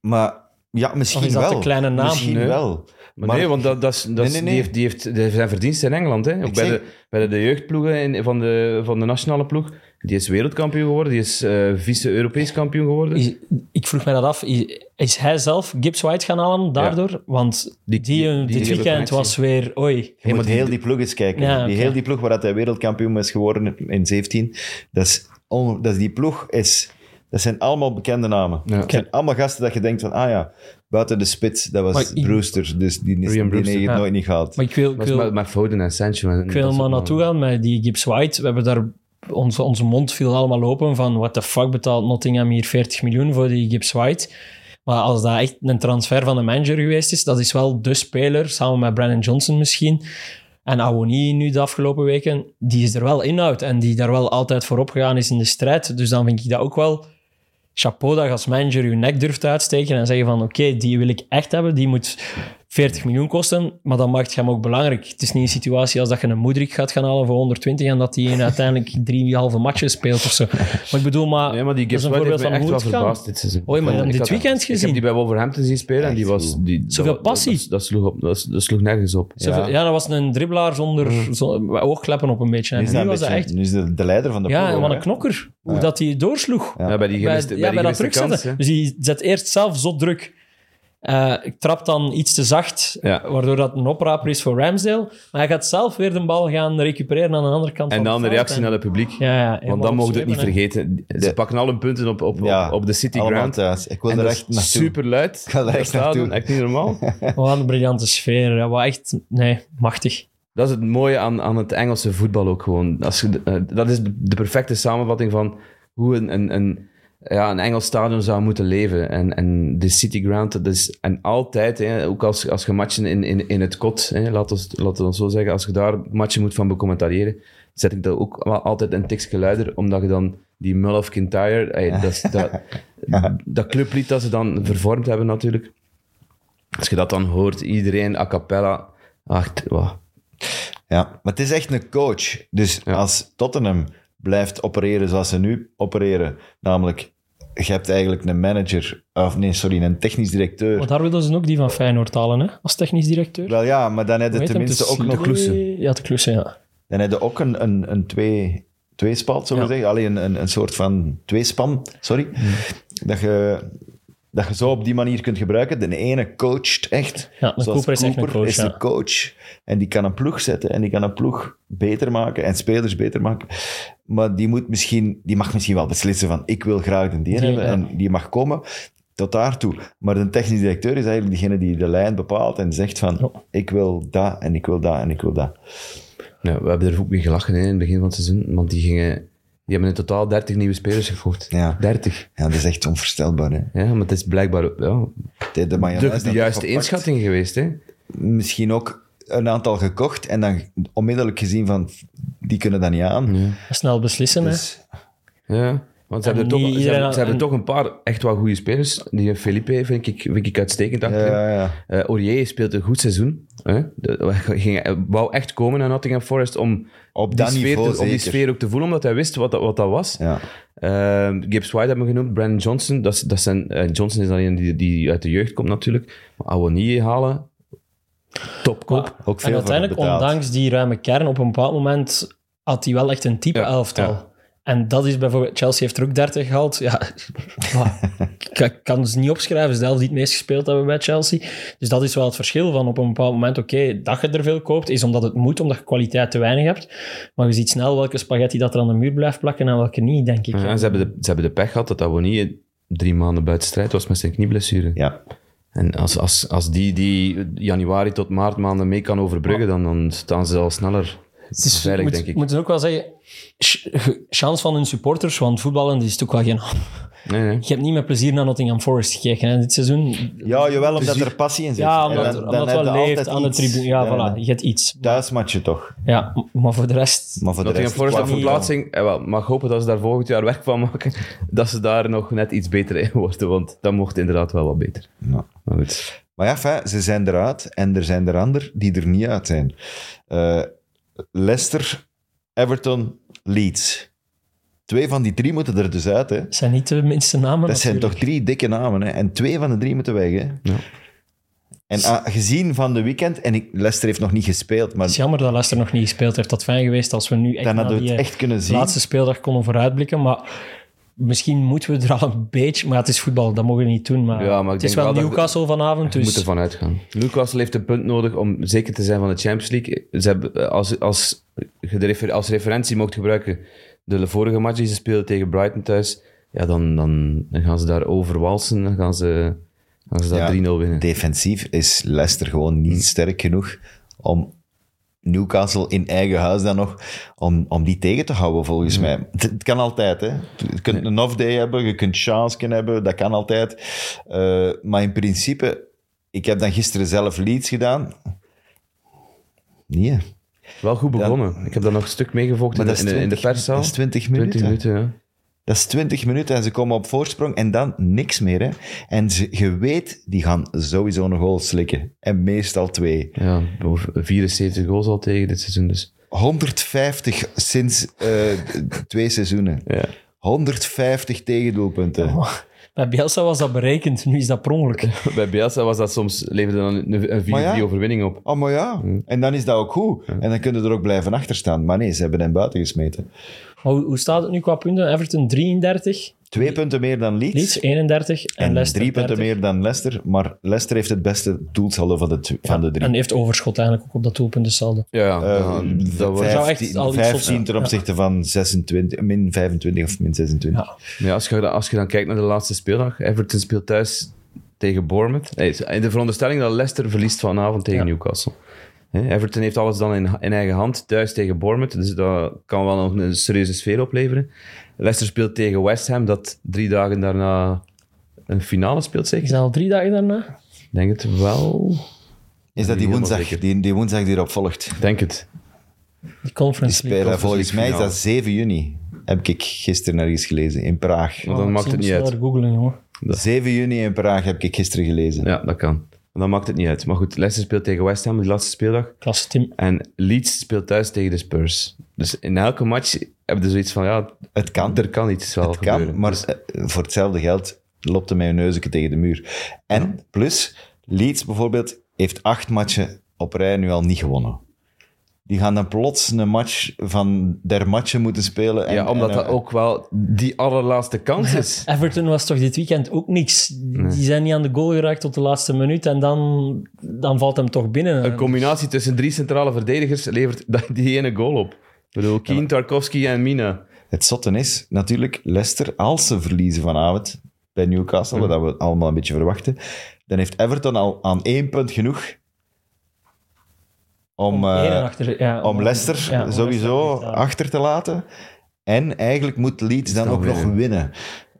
Maar ja, misschien Of is dat wel. de kleine naam? Misschien Nee. wel. Maar nee, want dat, dat is, dat is- Nee, nee, Die, nee. heeft, die, heeft, die zijn verdiensten in Engeland. Hè? Ook bij, zeg- de, bij de, de jeugdploegen in- van, de, van de nationale ploeg. Die is wereldkampioen geworden, die is eh, vice-Europees kampioen geworden. Is- ik vroeg mij dat af. Is, is hij zelf Gibbs White gaan halen daardoor? Want die, eh, Die- die- dit die weekend referentie. was weer... Oei. Je moet heel die ploeg eens kijken. Ja, die oké. heel die ploeg waar dat hij wereldkampioen is geworden in 17. Dat is, on- dat is die ploeg is... Dat zijn allemaal bekende namen. Ja. Het zijn allemaal gasten dat je denkt van, ah ja, buiten de spits, dat was Maar ik- Brewster. Dus die, die, die Brewster, heeft ja. het nooit niet gehaald. Maar ik wil, ik Maar dat is wil, met, met Foden en Sancho. en- ik wil maar naartoe gaan met die Gibbs White. We hebben daar... Onze, onze mond viel allemaal open van what the fuck betaalt Nottingham hier 40 miljoen voor die Gibbs White. Maar als dat echt een transfer van een manager geweest is, dat is wel de speler, samen met Brandon Johnson misschien. En Awoni nu de afgelopen weken, die is er wel inhoud en die daar wel altijd voorop gegaan is in de strijd. Dus dan vind ik dat ook wel chapeau dat je als manager je nek durft uitsteken en zeggen van oké, die wil ik echt hebben, die moet 40 miljoen kosten, maar dan maakt je hem ook belangrijk. Het is niet een situatie als dat je een Moedrik gaat gaan halen voor 120 en dat die in uiteindelijk drie halve matchen speelt of zo. Maar ik bedoel, maar, Ah, Nee, maar die dat is Gibbs een voorbeeld White heeft me van echt hoe wel het kan. verbaasd dit seizoen. Oh, maar je hebt Ik hem dit had- weekend Ik heb gezien. die bij Wolverhampton zien spelen en die Echt was... goed. Die, Zoveel dat- dat- passie. Dat, dat sloeg op, dat, dat sloeg nergens op. Zoveel- Ja. dat was een dribbelaar zonder, Mm. zonder oogkleppen op een beetje. Nu En is, nu dat een was dat beetje- echt... nu is de, de leider van de Ja, ploeg. en wat hoor, een hè. knokker. Hoe dat hij doorsloeg. Ja, bij die gemiste, bij, bij ja, die bij dat gemiste kans, terugzetten. hè. Dus die zet eerst zelf zo druk. Eh, ik trap dan iets te zacht, Ja. waardoor dat een opraper is voor Ramsdale. Maar hij gaat zelf weer de bal gaan recupereren aan de andere kant En van dan het de veld. reactie En- naar het publiek. Ja, ja, helemaal Want dan mogen we het niet opzwepen, hè. vergeten. Ze pakken al hun punten op, op, op, Ja, op de City allemaal Ground. thuis. Ik wil En er dat echt is naartoe. super luid. ga er Dat echt stadion, naartoe. Echt niet normaal. Wat een briljante sfeer. Ja, wat echt... Nee, machtig. dat is het mooie aan, aan het Engelse voetbal ook gewoon. Als je, de- eh, dat is de perfecte samenvatting van hoe een, een, een, ja, een Engels stadion zou moeten leven. En, en de City Ground, dat is... En altijd, hè, ook als, als je matchen in, in, in het kot, hè, laat ons laat ons zo zeggen, als je daar matchen moet van becommentariëren, zet ik dat ook wel altijd een tikje luider, omdat je dan die Mull of Kintyre, ey, dat, is- dat, dat clublied dat ze dan vervormd hebben natuurlijk, als je dat dan hoort, iedereen a cappella, echt, wauw. Ja, maar het is echt een coach. Dus als Tottenham blijft opereren zoals ze nu opereren, namelijk je hebt eigenlijk een manager, of nee, sorry, een technisch directeur. Want daar wilden ze ook die van Feyenoord halen, hè? Als technisch directeur. Wel ja, maar dan heb je Hoe heet hem? tenminste Het is ook nog... Kloese. Ja, de Kloese, ja. Dan heb je ook een, een, een twee, tweespalt, zullen we Ja. Mm. zeggen. Alleen een, een soort van tweespan, sorry. Dat, je, dat je zo op die manier kunt gebruiken. De ene coacht echt. Ja, de Zoals Cooper is echt een coach, is ja. de coach. En die kan een ploeg zetten en die kan een ploeg beter maken en spelers beter maken. Maar die, moet misschien, die mag misschien wel beslissen van ik wil graag de die Die, hebben ja. en die mag komen. Tot daartoe. Maar de technisch directeur is eigenlijk degene die de lijn bepaalt en zegt van Ja. ik wil dat en ik wil dat en ik wil dat. Ja, we hebben er ook mee gelachen hè, in het begin van het seizoen, want die gingen Die hebben in totaal 30 nieuwe spelers gekocht. Ja. 30. Ja, dat is echt onvoorstelbaar. Hè. Ja, maar het is blijkbaar ja, De, de mayonaise de, de dat juiste gepakt. inschatting geweest. Hè? Misschien ook een aantal gekocht en dan onmiddellijk gezien van, die kunnen dat niet aan. Snel beslissen, hè. Dus, Ja. Want ze En hebben, toch, niet ze, iedereen- hebben, ze hebben en- toch een paar echt wel goede spelers. Die Felipe vind ik, vind ik uitstekend achter ja, hem. ja, ja. Eh, Aurier speelt een goed seizoen. Hè? De- ging, wou echt komen naar Nottingham Forest om, Op die dat sfeer, niveau te- om die zeker. sfeer ook te voelen, omdat hij wist wat dat, wat dat was. ja. Ehm, Gibbs White hebben we genoemd, Brandon Johnson. Dat, is- dat zijn, eh, Johnson is dan een die, die uit de jeugd komt natuurlijk. Maar Awonier halen, topkoop. Ook veel en voor uiteindelijk, betaald. ondanks die ruime kern, op een bepaald moment had hij wel echt een type Ja, elftal. ja. En dat is bijvoorbeeld... Chelsea heeft er ook 30 gehaald. Ja, ik ik kan het niet opschrijven. Het is de helft die het meest gespeeld hebben bij Chelsea. Dus dat is wel het verschil van op een bepaald moment... Oké, dat je er veel koopt, is omdat het moet, omdat je kwaliteit te weinig hebt. Maar je ziet snel welke spaghetti dat er aan de muur blijft plakken en welke niet, denk ik. Ah, Ja, en ze, hebben de, ze hebben de pech gehad dat Awonier drie maanden buiten strijd was met zijn knieblessure. Ja. En als, als, als die, die januari tot maart maanden mee kan overbruggen, dan, dan staan ze al sneller Het is, veilig, moet, denk ik. moeten ook wel zeggen, ch- chance van hun supporters, want voetballen is natuurlijk wel geen... Nee, nee. Je hebt niet met plezier naar Nottingham Forest gekeken hè, dit seizoen. ja, jawel, Dus omdat er passie in zit. Ja, En omdat, dan- dan omdat heb het je wel leeft altijd aan de iets. tribune. Ja, voilà, ja. je hebt iets. Thuismatchen toch. Ja, m- maar voor de rest... Maar voor de Nottingham rest... Forest op qua verplaatsing, eh, wel, mag hopen dat ze daar volgend jaar werk van maken. Dat ze daar nog net iets beter in worden, want dat mocht inderdaad wel wat beter. Ja. Maar goed. Maar ja, fijn, ze zijn eruit en er zijn er anderen die er niet uit zijn. Eh, Leicester, Everton, Leeds. Twee van die drie moeten er dus uit. Hè. Het zijn niet de minste namen. Dat zijn toch natuurlijk. drie dikke namen. Hè. En twee van de drie moeten weg. Hè. Ja. En ah, gezien van de weekend, en ik, Leicester heeft nog niet gespeeld, maar Het is jammer dat Leicester nog niet gespeeld heeft. Dat fijn geweest als we nu echt dan na hadden we die het eh, echt kunnen zien. laatste speeldag konden vooruitblikken. Maar misschien moeten we er al een beetje... Maar het is voetbal, dat mogen we niet doen. Maar, Ja, maar ik het is denk wel wel dat- Newcastle vanavond, Je moet dus... ervan uitgaan. Newcastle heeft een punt nodig om zeker te zijn van de Champions League. Ze hebben, eh, als, als, je de refer- als referentie mocht gebruiken de vorige match die ze speelden tegen Brighton thuis, ja, dan, dan gaan ze daar overwalsen. Dan gaan ze, gaan ze daar Ja, 3-0 winnen. Defensief is Leicester gewoon Hmm. niet sterk genoeg om Newcastle in eigen huis dan nog, om, om die tegen te houden volgens Hmm. mij. Het, het kan altijd, hè. Je kunt een off-day hebben, je kunt chance kunnen hebben, dat kan altijd. Eh, maar in principe, ik heb dan gisteren zelf Leeds gedaan. Nee, hè. Wel goed begonnen. Ik heb daar nog een stuk meegevochten in, Maar de- dat is in, de- in de 20 perszaal. dat is 20 minuten. minuten, ja. Dat is 20 minuten en ze komen op voorsprong en dan niks meer. Hè? En ze, je weet, die gaan sowieso een goal slikken. En meestal twee. Ja, over 74 goals al tegen dit seizoen. Dus. 150 sinds eh, d- twee seizoenen. Ja. 150 tegendoelpunten. Bij Bielsa was dat berekend, nu is dat per ongeluk. Bij Bielsa was dat soms, leverde dan een, een 4-3 Maar ja. overwinning op. Oh, maar ja. En dan is dat ook goed. En dan kunnen er ook blijven achter staan. Maar nee, ze hebben hem buiten gesmeten. Maar hoe, hoe staat het nu qua punten? Everton 33, Twee punten meer dan Leeds. Leeds 31 en, en Leicester drie punten 30. meer dan Leicester. Maar Leicester heeft het beste doelsaldo van de, tw- van de drie. En heeft overschot eigenlijk ook op dat doelpunt dus saldo. Ja, ja, Eh, ja, dat wordt- Zou echt al 15, iets op- 15 ten opzichte van 26, min 25 of min 26. Ja. ja, als, je, dan- als je dan kijkt naar de laatste speeldag, Everton speelt thuis tegen Bournemouth. Nee, in de veronderstelling dat Leicester verliest vanavond tegen Newcastle. Hè, Everton heeft alles dan in, in eigen hand, thuis tegen Bournemouth. Dus dat kan wel nog een serieuze sfeer opleveren. Leicester speelt tegen West Ham, dat drie dagen daarna een finale speelt, Is zeker? dat al drie dagen daarna? Ik denk het wel. Is dat die Helemaal woensdag, zeker. die, die woensdag die erop volgt? Ik denk het. Die Die conference league. spelen, volgens mij is finale. dat 7 juni. Heb ik gisteren ergens gelezen, in Praag. Maar Oh, dan maakt het niet uit. googlen, jongen. 7 juni in Praag heb ik gisteren gelezen. Ja, dat kan. Dan maakt het niet uit. Maar goed, Leicester speelt tegen West Ham, die laatste speeldag. Klasse team. En Leeds speelt thuis tegen de Spurs. Dus in elke match hebben ze zoiets van, ja, Het kan, er kan iets wel het kan gebeuren. maar eh, voor hetzelfde geld loopt hij met een neusje tegen de muur. En plus, Leeds bijvoorbeeld heeft acht matchen op rij nu al niet gewonnen. Die gaan dan plots een match van der matchen moeten spelen. En, ja, omdat en, dat eh, ook wel die allerlaatste kans is. Everton was toch dit weekend ook niks. Die zijn niet aan de goal geraakt tot de laatste minuut en dan, dan valt hem toch binnen. Een combinatie tussen drie centrale verdedigers levert da- die ene goal op. Ik bedoel, Keen, Tarkovsky en Mina. Het zotten is natuurlijk, Leicester, als ze verliezen vanavond bij Newcastle, wat we allemaal een beetje verwachten, dan heeft Everton al aan één punt genoeg om, Om eh, één achter- ja, eh, om eh, Leicester ja, om sowieso Leicester Ah. te staan. achter te laten. En eigenlijk moet Leeds dan dan ook nog winnen. winnen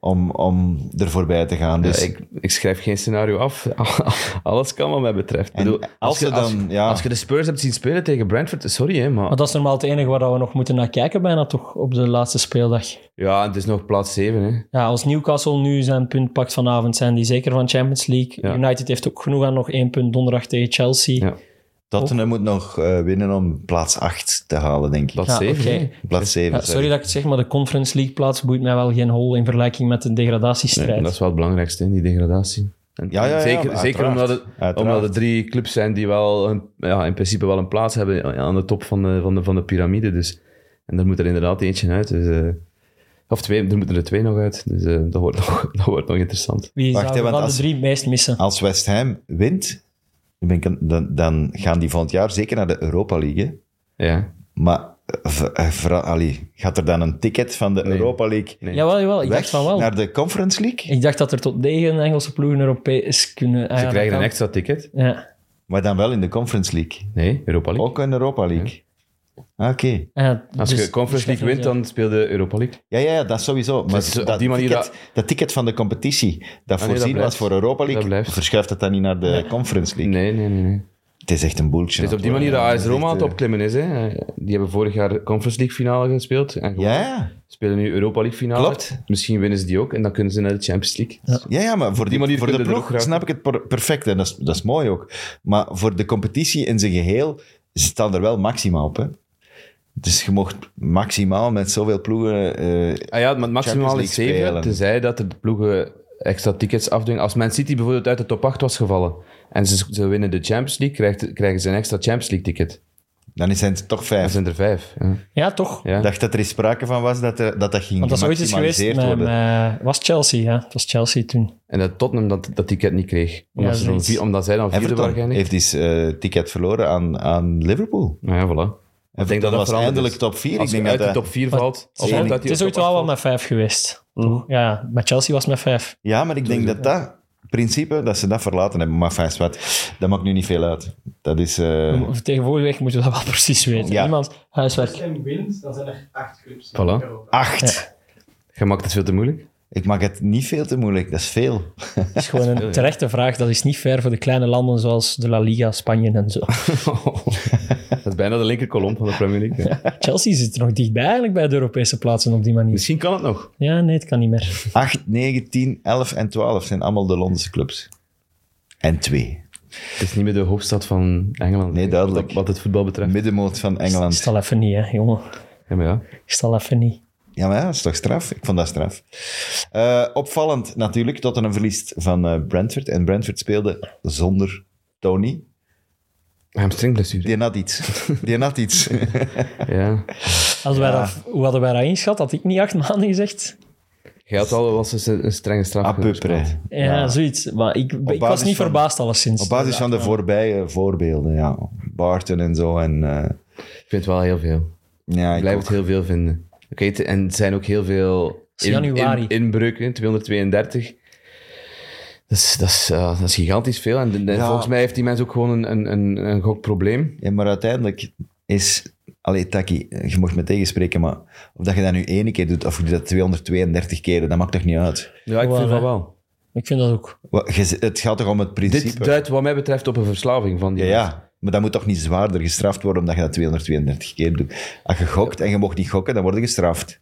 om, om er voorbij te gaan. Dus Ja, ik, ik schrijf geen scenario af. Alles kan wat mij betreft. Ik En bedoel, als als, je, ze als, dan- ja. als je de Spurs hebt zien spelen tegen Brentford, sorry hè, maar... Maar dat is normaal het enige waar we nog moeten naar kijken, bijna toch, op de laatste speeldag. Ja, en het is nog plaats 7 hè. Ja, als Newcastle nu zijn punt pakt vanavond, zijn die zeker van Champions League. Ja. United heeft ook genoeg aan nog één punt donderdag tegen Chelsea. Ja. Tottenham Oh. moet nog eh, winnen om plaats 8 te halen, denk ik. Plaats Ja, 7 oké. hè. Plaats 7. Ja, sorry dat ik het zeg, maar de Conference League plaats boeit mij wel geen hol in vergelijking met de Nee, degradatiestrijd. dat is wel het belangrijkste, hè, die degradatie. En Ja, ja, ja, zeker maar zeker uiteraard. omdat, het, Uiteraard. omdat er drie clubs zijn die wel een, ja, in principe wel een plaats hebben aan de top van de, van de, van de piramide. Dus. En er moet er inderdaad eentje uit. Dus, eh, of twee, er moeten er twee nog uit. Dus eh, dat, wordt nog, dat wordt nog interessant. Wie Wacht, zou hè, want van als- de drie het meest Ah, missen? Als West Ham wint, dan ben ik- dan, dan gaan die volgend jaar zeker naar de Europa League. hè. Ja. Maar eh, v- eh, vra- allee, gaat er dan een ticket van de Europa League Nee. Jawel, jawel, ik dacht weg van wel. naar de Conference League? Ik dacht dat er tot negen Engelse ploegen Europees kunnen... Ah, Ze ja, krijgen dat een kan. extra ticket. Ja. Maar dan wel in de Conference League. Nee, Europa League. Ook in de Europa League. Ah, Oké. Ja, Als dus- je Conference dus League wint, dan speel je Europa League. Ja, ja, ja, dat sowieso. Maar Dus op dat, die manier ticket, dat- Ah, dat... ticket van de competitie dat nee, dat voorzien blijft. was voor Europa Dat League, blijft. verschuift het dan niet naar de Conference League? Nee, nee, nee. nee. Het is echt een bullshit. Het is op die manier dat AS Roma aan het Echt, eh, opklimmen is. Hè. Die hebben vorig jaar Conference League finale gespeeld. En gewonnen. Ja, spelen nu Europa League finale. Klopt. Misschien winnen ze die ook en dan kunnen ze naar de Champions League. ja, ja, maar voor, die manier voor de kunnen we er ploeg ook snap ik het per- perfect en dat is, dat is mooi ook. Maar voor de competitie in zijn geheel staan er wel maximaal op. Hè? Dus je mocht maximaal met zoveel ploegen. eh, Ah ja, maar het maximaal is Champions League 7, spelen. tenzij dat er de ploegen extra tickets afdwingen. Als Man City bijvoorbeeld uit de top 8 was gevallen en ze, ze winnen de Champions League, krijgt, krijgen ze een extra Champions League ticket. dan zijn het toch Dan vijf. zijn er vijf. Ja. Ja, toch? Ja. Ik dacht dat er eens sprake van was dat er- dat, dat ging Want dat is ooit eens geweest gemaximaliseerd met... worden. met- was Chelsea, ja. Het was Chelsea toen. En dat Tottenham dat, dat ticket niet kreeg. Omdat, Ja, ze dan zoiets. vier- omdat zij dan vierde Everton waren eigenlijk. heeft eens eh, ticket verloren aan, aan Liverpool. Nou ja, voilà. Ik denk dat dat was veranderd eindelijk is. top 4. Als Ik je denk uit dat de dat- top 4 valt... of Het uit is die het is top ooit acht wel wel valt. met vijf geweest. toch? Ja, met Chelsea was het met vijf. Ja, maar ik denk dat dat principe, dat ze dat verlaten hebben. Maar fijn, wat, dat maakt nu niet veel uit. Dat is... eh, Tegenwoordig weg moeten we dat wel precies weten. Ja. Niemand Als huiswerk. hem wint, dan zijn er acht clubs. in Voilà. Europa. acht. Je maakt het veel te moeilijk. Ik maak het niet veel te moeilijk. Dat is veel. Dat is gewoon een terechte vraag. Dat is niet fair voor de kleine landen zoals de La Liga, Spanje en zo. dat is bijna de linker kolom van de Premier League. hè. Chelsea zit er nog dichtbij eigenlijk bij de Europese plaatsen op die manier. Misschien kan het nog. Ja, nee, het kan niet meer. 8, 9, 10, 11 en 12 zijn allemaal de Londense clubs. En twee. Het is niet meer de hoofdstad van Engeland. Nee, duidelijk. Wat, wat het voetbal betreft. Middenmoot van Is Engeland. het al even niet, hè, jongen. Ja, maar ja. Is het al even niet. Ja, maar ja, dat is toch straf? Ik vond dat straf. Eh, opvallend natuurlijk, tot een verlies van eh, Brentford. En Brentford speelde zonder Tony. Hamstringblessure. Die had iets. Die had iets. Ja. Hadden wij dat, hoe hadden wij dat ingeschat? Had ik niet acht maanden gezegd? Jij had al wel eens een, een strenge straf. À peu gespeeld. près. Ja, zoiets. Maar ik, ik was basis niet van- verbaasd alleszins. Op basis van de voorbije voorbeelden, ja. Barton en zo. En, eh, Ik vind het wel heel veel. ja, Ik ik blijf ook. het heel veel vinden. Oké, het- en het zijn ook heel veel is januari. inbreuken, 232. Dat is, dat, is, eh, dat is gigantisch veel. En, de- de- Ja. volgens mij heeft die mens ook gewoon een, een, een, een gokprobleem. Ja, maar uiteindelijk is... Allee, Taki, je mocht me tegenspreken, maar of dat je dat nu één keer doet of je doet dat 232 keren, dat maakt toch niet uit? Ja, ik Wel, vind hè. dat wel. Ik vind dat ook. Wat- je- Het gaat toch om het principe? Dit duidt wat mij betreft op een verslaving van die Ja, mens. ja. Maar dat moet toch niet zwaarder gestraft worden omdat je dat 232 keer doet? Als je gokt en je mocht niet gokken, dan word je gestraft.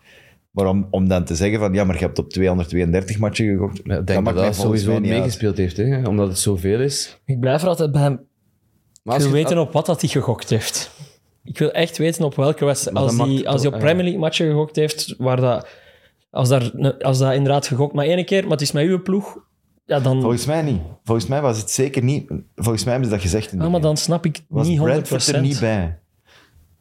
Maar om, om dan te zeggen van, ja, maar je hebt op 232 matchen gegokt, Ja, Ik dat denk dat maakt dat, mij volgens sowieso mij niet uit. meegespeeld heeft, hè? omdat het zoveel is. Ik blijf er altijd bij hem. Maar Ik als wil je- weten op wat dat hij gegokt heeft. Ik wil echt weten op welke wedstrijd. Maar Als dat maakt hij, het als hij ook- op Premier League matchen gegokt heeft, waar dat, als, daar, als dat inderdaad gegokt maar één keer, maar het is met uw ploeg, ja, dan, Volgens mij niet. Volgens mij was het zeker niet... Volgens mij hebben ze dat gezegd in de ah, maar game. dan snap ik het Was niet 100%. Brentford er niet bij?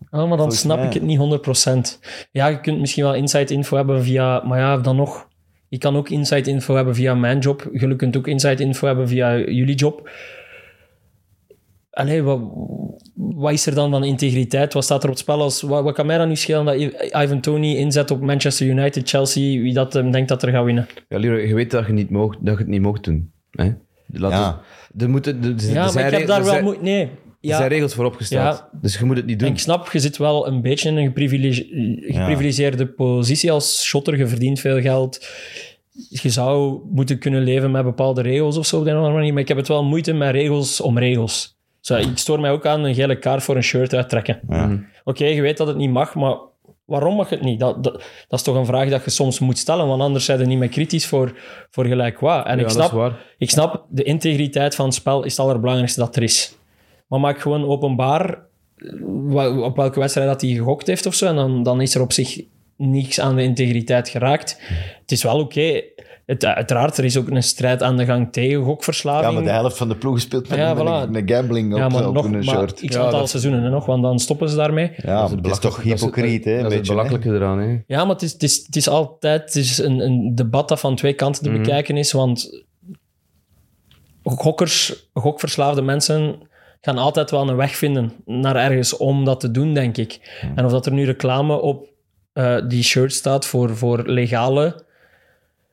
Ah, maar dan Volgens snap mij. ik het niet 100%. Ja, je kunt misschien wel inside info hebben via. Maar ja, dan nog. Je kan ook inside info hebben via mijn job. Je kunt ook inside info hebben via jullie job. Allee, wat, wat is er dan van integriteit? Wat staat er op het spel? Als, wat, wat kan mij dan nu schelen dat I- Ivan Tony inzet op Manchester United, Chelsea, wie dat hem denkt dat er gaat winnen? Ja, Leroy, je weet dat je, niet moog, dat je het niet mocht doen. Hè? Laat Ja. het- er moeten, er, er Ja, maar zijn ik heb regels- daar er wel zijn- moe- Nee, Er zijn regels voor opgesteld. Dus je moet het niet En doen. ik snap, je zit wel een beetje in een geprivilege- geprivilegeerde positie als shotter. Je verdient veel geld. Je zou moeten kunnen leven met bepaalde regels of zo op de een of andere manier. Maar ik heb het wel moeite met regels om regels. Zo, ik stoor mij ook aan een gele kaart voor een shirt uittrekken. Mhm. Oké, je weet dat het niet mag, maar waarom mag het niet? Dat, dat, dat is toch een vraag dat je soms moet stellen, want anders zijn ze niet meer kritisch voor, voor gelijk wat. En Ja, ik, dat is snap, waar. ik snap, de integriteit van het spel is het allerbelangrijkste dat er is. Maar maak gewoon openbaar wa- op welke wedstrijd dat hij gegokt heeft of zo. En dan, dan is er op zich niks aan de integriteit geraakt. Het is wel oké. Het, uiteraard, er is ook een strijd aan de gang tegen Ja, gokverslaving. maar de helft van de ploeg speelt met, Ja, met voilà. een, een gambling op, Ja, maar op nog een maar shirt. x aantal seizoenen hè, nog, want dan stoppen ze daarmee. ja, maar dat is toch hypocriet, hè? Een Dat is het beetje. hè? belachelijke eraan, hè. Ja, maar het is, het is, het is altijd het is een, een debat dat van twee kanten te Mhm. bekijken is. Want gokkers, gokverslaafde mensen gaan altijd wel een weg vinden naar ergens om dat te doen, denk ik. En of dat er nu reclame op eh, die shirt staat voor, voor legale,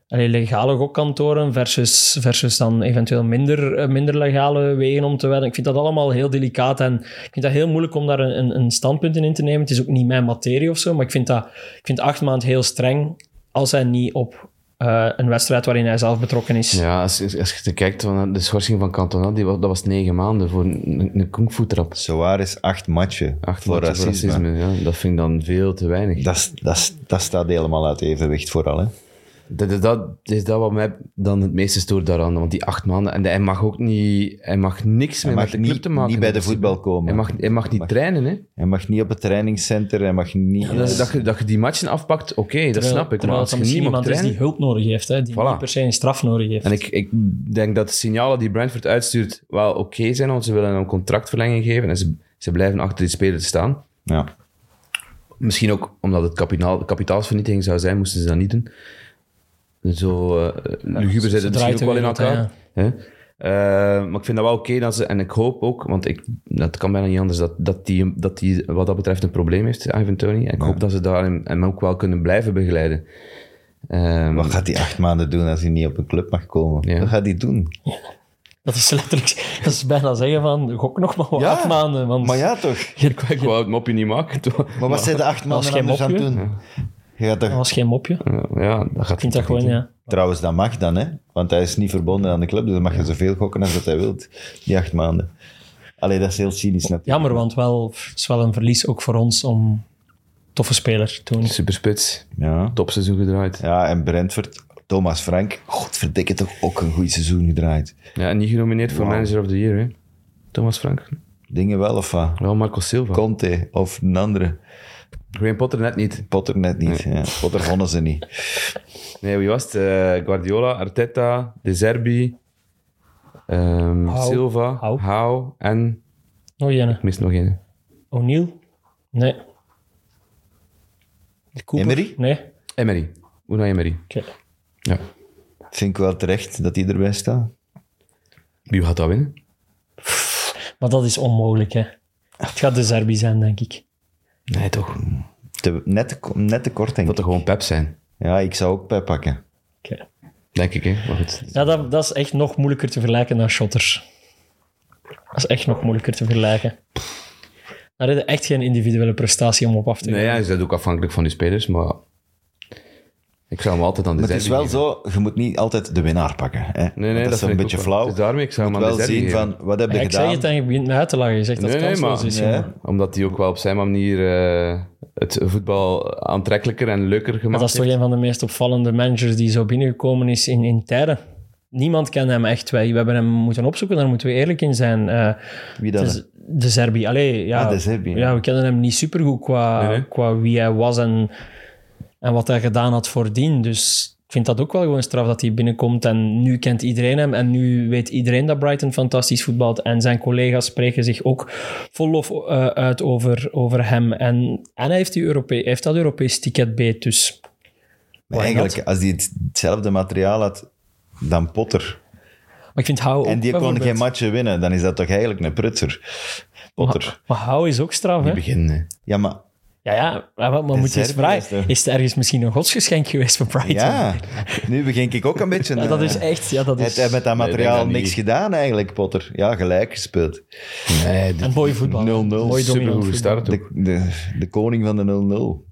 allee, legale gokkantoren versus, versus dan eventueel minder, eh, minder legale wegen om te wedden. Ik vind dat allemaal heel delicaat en ik vind dat heel moeilijk om daar een, een- een standpunt in te nemen. Het is ook niet mijn materie of zo, maar ik vind, dat, ik vind acht maanden heel streng als hij niet op eh, een wedstrijd waarin hij zelf betrokken is. Ja, als, als als je te kijkt naar de schorsing van Cantona, die, wa- dat was negen maanden voor een, een- een kung fu trap. Zowaar is acht matchen Acht voor maanden racisme. ja. Dat vind ik dan veel te weinig. Dat, is- dat, is- dat staat helemaal uit evenwicht vooral. Hè? Dat, dat, dat is dat wat mij dan het meeste stoort daaraan. Want die acht maanden... En hij mag ook niet... Hij mag niks Hij meer mag met de club niet, te maken. niet bij de hebben. voetbal komen. Hij mag, hij mag niet trainen, hè. Hij mag niet op het trainingscentrum, hij mag niet... Dat, dat, je, dat je die matchen afpakt, oké, dat Terwijl- snap ik. Maar terwijl als het je dan misschien niet mag iemand is trainen... die hulp nodig heeft, hè, die Voilà. niet per se een straf nodig heeft. En ik, ik denk dat de signalen die Brentford uitstuurt wel oké zijn, want ze willen een contractverlenging geven en ze, ze blijven achter die speler staan. Ja. Misschien ook omdat het kapitaal, kapitaalsvernietiging zou zijn, moesten ze dat niet doen. Zo eh, luguber zit ze het draait misschien ook de wel in wereld, elkaar. hè. Eh, maar ik vind dat wel oké dat ze, en ik hoop ook, want ik, dat kan bijna niet anders, dat, dat, die, dat die wat dat betreft een probleem heeft, Ivan Tony. En ik hoop dat ze daarin hem ook wel kunnen blijven begeleiden. Ehm, Wat gaat hij acht maanden doen als hij niet op een club mag komen? Ja. Wat gaat hij doen? Dat is letterlijk, dat is bijna zeggen van, gok nog maar wat Ja, acht maanden. Want Maar ja, toch? ik wou het mopje niet maken. Maar wat zijn de acht maanden geen anders aan het mopje. doen? Je gaat toch... dat was geen mopje. Ik Ja, dat gaat vind dat gewoon, ja. Trouwens, dat mag dan, hè? Want hij is niet verbonden aan de club, dus dan mag je zoveel gokken als dat hij wilt. Die acht maanden. Allee, dat is heel cynisch natuurlijk. Jammer, want wel, het is wel een verlies ook voor ons om toffe speler toen. Superspits. Ja. Topseizoen gedraaid. ja, en Brentford, Thomas Frank, godverdikke toch ook een goed seizoen gedraaid. Ja, en niet genomineerd voor Wauw. Manager of the Year, hè? Thomas Frank. Dingen wel of wat? Wel Marco Silva. Conte of een andere. Graham Potter net niet. Potter net niet. Ja. Potter vonden ze niet. Nee, wie was het? Eh, Guardiola, Arteta, De Zerbi, ehm, Hou. Silva, Hou. Hou en... Nog een. Ik mis nog één. Oh, O'Neill? Nee. Cooper? Emery? Nee. Emery. Unai Emery. Oké. Ja. Vind ik wel terecht dat hij erbij staat. Wie gaat dat winnen? Maar dat is onmogelijk, hè. Het gaat de Zerbi zijn, denk ik. Nee, toch. Te- net, te ko- net te kort, denk Dat ik. er gewoon Pep zijn. Ja, ik zou ook bij pakken. Oké. Denk ik, hè. Maar goed. Ja, dat, dat is echt nog moeilijker te vergelijken dan shotters. Dat is echt nog moeilijker te vergelijken. Daar heb je echt geen individuele prestatie om op af te gaan. Nee, ja, is dat ook afhankelijk van die spelers, maar... Ik zou hem altijd aan De Maar het is Zerbi wel zo, je moet niet altijd de winnaar pakken. Hè? Want nee, dat dat is vind een ik beetje ook wel. flauw. Dus daarmee, ik zou je hem moet aan wel de zien Zerbi van, wat heb je Ja, ik zeg gedaan? het en je begint me uit te lachen. Je zegt dat Nee, het nee, kansloos maar- is. Nee. jongen. Omdat hij ook wel op zijn manier eh, het voetbal aantrekkelijker en leuker gemaakt Maar dat is toch heeft. een van de meest opvallende managers die zo binnengekomen is in, in tijden. Niemand kende hem echt. Wij, we hebben hem moeten opzoeken, daar moeten we eerlijk in zijn. Eh, Wie dan? het is de Zerbi. Allee, ja, Ah, De Zerbi, ja. ja, we kennen hem niet supergoed qua, Nee, nee. qua wie hij was en, en wat hij gedaan had voordien. Dus ik vind dat ook wel gewoon straf dat hij binnenkomt. En nu kent iedereen hem. En nu weet iedereen dat Brighton fantastisch voetbalt. En zijn collega's spreken zich ook vol lof eh, uit over, over hem. En, en hij heeft, die Europee- heeft dat Europees ticket beet. Dus Maar Why eigenlijk, not? als hij het- hetzelfde materiaal had dan Potter, Maar ik vind Hou ook en die kon geen bijvoorbeeld- matchen winnen, dan is dat toch eigenlijk een prutser. Potter. Maar Hou is ook straf, hè? beginnen. Ja, maar Ja, ja, maar, maar moet je eens Serbië is vragen. er. Is het ergens misschien een godsgeschenk geweest voor Brighton? Ja, nu begin ik ook een beetje... Ja, dat eh, is echt... Ja, dat Hij is... heeft met dat Nee, ik denk materiaal dat niet. niks gedaan eigenlijk, Potter. Ja, gelijk gespeeld. Nee, dit En mooi voetbal. 0-0, Mooi dominant supergoed voetbal. gestart ook. De, de, de koning van de 0-0.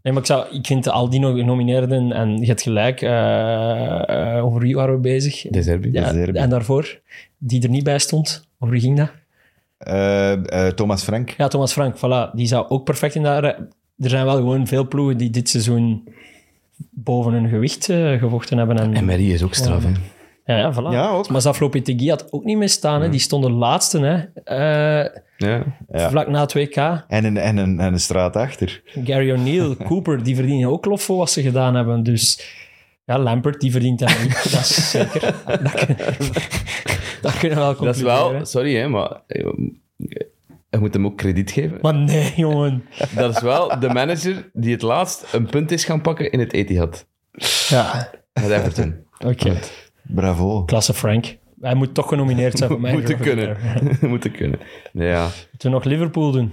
Nee, maar ik, zou, ik vind al die nog genomineerden, en je hebt gelijk, eh, eh, over wie waren we bezig? De Serbië. Ja, de Serbië. en daarvoor, die er niet bij stond, over wie ging dat? Eh, eh, Thomas Frank. Ja, Thomas Frank, voilà, die zou ook perfect in daar... Er zijn wel gewoon veel ploegen die dit seizoen boven hun gewicht eh, gevochten hebben. En, En Marie is ook straf, hè. ja, ja, voilà. Ja, ook. Maar Zaflo Petegui had ook niet mee staan, hè. die stonden laatste, hè. Eh, Ja. Ja. vlak na het WK. En een, en, een, en een straat achter. Gary O'Neill, Cooper, die verdienen ook lof voor wat ze gedaan hebben. Dus ja, Lampert, die verdient dat niet. Dat is zeker. Dat, kun- dat kunnen we wel Dat is concluderen. wel... Sorry, hè, maar... eh, Je moet hem ook krediet geven. Maar nee, jongen. Dat is wel de manager die het laatst een punt is gaan pakken in het Etihad. Ja, Met Everton. oké. Bravo. Klasse Frank. Hij moet toch genomineerd zijn voor mij. Moeten kunnen. Moeten kunnen. Ja. Moeten we nog Liverpool doen?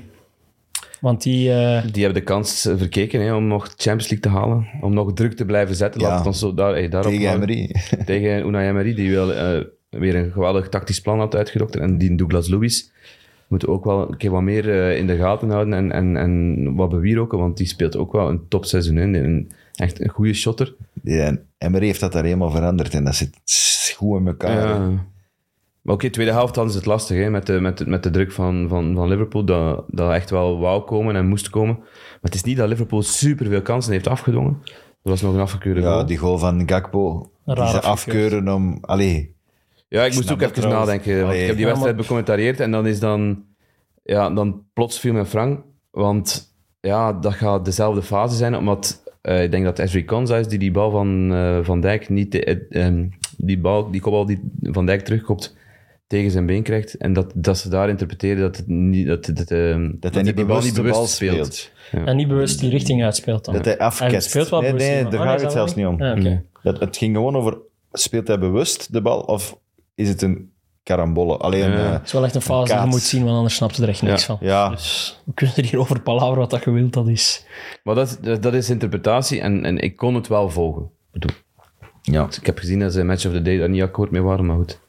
Want die... eh, Die hebben de kans verkeken hè, om nog Champions League te halen. Om nog druk te blijven zetten. Ja. Laat het ons zo daar, hey, daarop Tegen houden. Emery. Tegen Unai Emery, die wel eh, weer een geweldig tactisch plan had uitgedokterd. En die Douglas Lewis moeten we ook wel een keer wat meer eh, in de gaten houden. En, en, en wat bewieroken, want die speelt ook wel een topseizoen in. Een, echt een goede shotter. Ja, en Emery heeft dat daar helemaal veranderd. En dat zit goed in elkaar. Ja. Eh, Maar oké, tweede helft hadden ze het lastig hè, met, de, met, de, met de druk van, van, van Liverpool. Dat, dat echt wel wou komen en moest komen. Maar het is niet dat Liverpool superveel kansen heeft afgedwongen. Er was nog een afgekeurde Ja, goal. die goal van Gakpo. Raar die ze afgekeurd. afkeuren om... Allee, Ja, ik snap moest ook dat even trouwens. nadenken. Want Allee. ik heb die Ja, wedstrijd becommentarieerd en dan is dan... Ja, dan plots viel mijn Frank. Want ja, dat gaat dezelfde fase zijn, omdat... eh, ik denk dat Ezri Konza is die die bal van eh, Van Dijk niet... te- eh, ehm, die bal, die kopbal die Van Dijk terugkomt, tegen zijn been krijgt. En dat, dat ze daar interpreteren dat, het niet, dat, dat, ehm, dat hij niet die bal bewust de bal speelt. En niet bewust die richting uitspeelt dan. Dat hij afkest. Hij speelt wel nee, bewust, nee, maar- daar Ah, gaat is het dat zelfs wel niet om. Ja, oké. Nee. Dat, het ging gewoon over, speelt hij bewust de bal of is het een karambolle? Alleen, Ja. eh, Het is wel echt een fase die je Kaats. moet zien, want anders snapt ze er echt niks van. ja. Dus we kunnen er hier over palaveren wat dat gewild dat is. Maar dat, dat, dat is interpretatie en, en ik kon het wel volgen. Ik bedoel, ja, Ik heb gezien dat ze in Match of the Day daar niet akkoord mee waren, maar goed. ik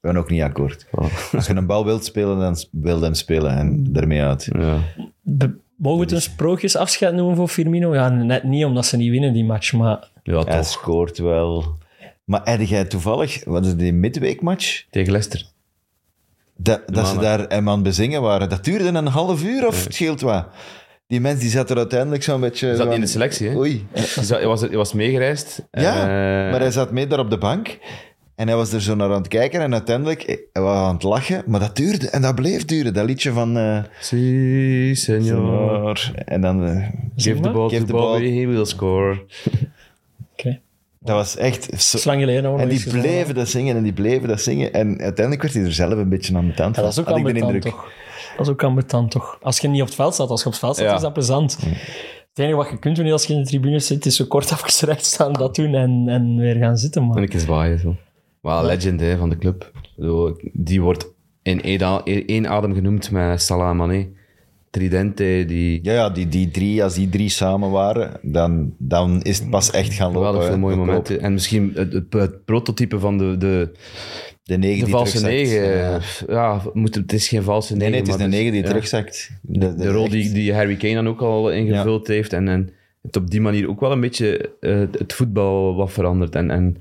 ben ook niet akkoord. Als je een bal wilt spelen, dan s- wil je hem spelen en daarmee uit. Ja. Be- Mogen we het een sprookjesafscheid noemen voor Firmino? Ja, net niet omdat ze niet winnen die match, maar Ja, Hij toch. scoort wel. Maar had jij toevallig, wat is die midweekmatch? Tegen Leicester. Dat, dat ze maandag. daar hem aan het bezingen waren. Dat duurde een half uur of het scheelt wat? Die mens die zat er uiteindelijk zo'n beetje... Hij zat zo niet in aan- de selectie, hè? Oei. Hij zat- hij was, hij was meegereisd. Ja, Eh, maar hij zat mee daar op de bank. En hij was er zo naar aan het kijken en uiteindelijk eh, hij was aan het lachen. Maar dat duurde en dat bleef duren. Dat liedje van... eh, Si, senor. En dan... eh, Give the ball Give to the ball. Bobby, he will score. Oké. dat was echt... zo- Het is lang geleden. dat we En nog die iets gedaan bleven dat zingen en die bleven dat zingen. En uiteindelijk werd hij er zelf een beetje aan van. hebben. Ja, dat is ook had ik de ambetant, indruk. toch? Dat is ook ambetant, toch? Als je niet op het veld staat, als je op het veld staat, Ja. is dat plezant. Mm. Het enige wat je kunt doen als je in de tribune zit, is zo kort afgestrekt staan, dat doen en, en weer gaan zitten. En Maar ik keer zwaaien, zo. Wel, legend hè, van de club. Ik bedoel, Die wordt in één a- in één adem genoemd met Salah en Mané. Tridente, die Ja, ja die, die drie, als die drie samen waren, dan, dan is het pas echt gaan lopen. geweldig hè. veel mooie Dat momenten. En misschien het, het- het prototype van de, de, klopt. De negen de die valse terugzakt. negen. Ja. Ja, moet, het is geen valse Nee, negen. nee, het is maar dus, de negen die ja. terugzakt. De, de- de rol die, echt. die Harry Kane dan ook al ingevuld heeft. En, en het op die manier ook wel een beetje eh, het voetbal wat verandert. En, en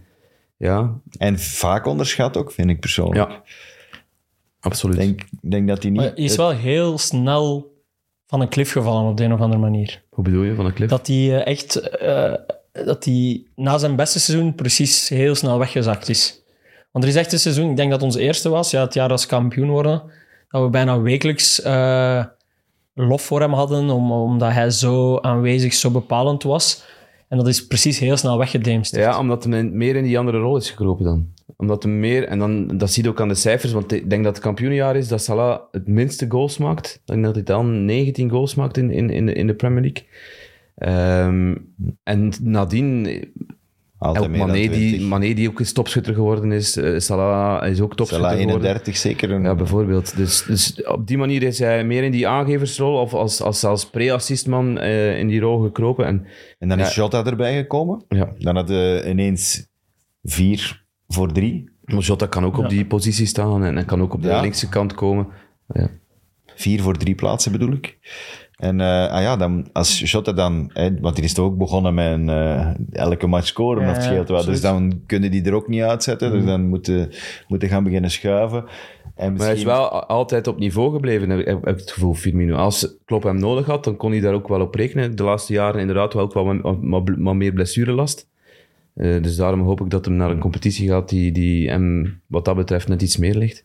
ja, En vaak onderschat ook, vind ik persoonlijk. ja. Absoluut. Ik denk, ik denk dat hij niet... maar hij is wel heel snel van een klif gevallen op de een of andere manier. Hoe bedoel je van de clip? Dat hij eh, echt, eh, dat hij na zijn beste seizoen precies heel snel weggezakt is. Want er is echt een seizoen, ik denk dat ons eerste was, ja, het jaar als kampioen worden, dat we bijna wekelijks eh, lof voor hem hadden, om, omdat hij zo aanwezig, zo bepalend was. En dat is precies heel snel weggedemst. Ja, omdat hij meer in die andere rol is gekropen dan. Omdat hem meer, en dan, dat zie je ook aan de cijfers, want ik denk dat het kampioenjaar is dat Salah het minste goals maakt. Ik denk dat hij dan 19 goals maakt in, in, in, de, in de Premier League. Ehm, en nadien Altijd Ook meer dan Mané die, 20. Mané die ook eens topschutter geworden is. eh, Salah is ook topschutter Salah geworden. 31 zeker. Een, Ja, bijvoorbeeld. Dus, dus op die manier is hij meer in die aangeversrol of als, als zelfs pre-assistman eh, in die rol gekropen. En, en dan is Ja. Jota erbij gekomen. ja. Dan hadden we ineens 4 voor 3. Maar Jota kan ook op die positie staan en, en kan ook op de Ja. linkse kant komen. Ja. 4 voor 3 plaatsen bedoel ik. En eh, ah ja, dan, als Jota dan... Hè, want die is toch ook begonnen met een, eh, elke match scoren, Ja, of het scheelt wel. Dus absoluut. dan kunnen die er ook niet uitzetten. Dus dan moeten, moeten gaan beginnen schuiven. En Maar hij is misschien- wel a- altijd op niveau gebleven, heb, heb heb ik het gevoel, Firmino. Als Klopp hem nodig had, dan kon hij daar ook wel op rekenen. De laatste jaren inderdaad wel ook wel wat- wat- wat- wat meer blessurelast. Eh dus daarom hoop ik dat hem naar een competitie gaat die, die hem wat dat betreft net iets meer ligt.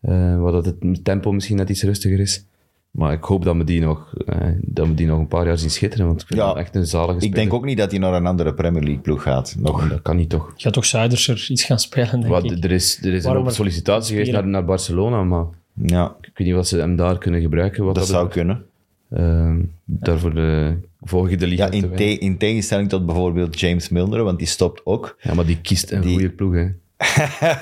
Eh, waar dat het tempo misschien net iets rustiger is. Maar ik hoop dat we die nog, eh, dat we die nog een paar jaar zien schitteren, want ik vind Ja, hem echt een zalige Ik speler. Oh, denk ook niet dat hij naar een andere Premier League ploeg gaat. Nog. Dat kan niet toch? Je gaat toch Zuiderser iets gaan spelen, denk Wat, ik. er is, er is een Waarom hoop er- sollicitatie geweest spelen? naar, naar Barcelona, maar Ja, ik weet niet wat ze hem daar kunnen gebruiken. Wat dat zou betreft. kunnen. Ehm, daarvoor de, volg je de liga Ja, te in, weinig. te- in tegenstelling tot bijvoorbeeld James Milner, want die stopt ook. Ja, maar die kiest een Die- goede ploeg. Hè.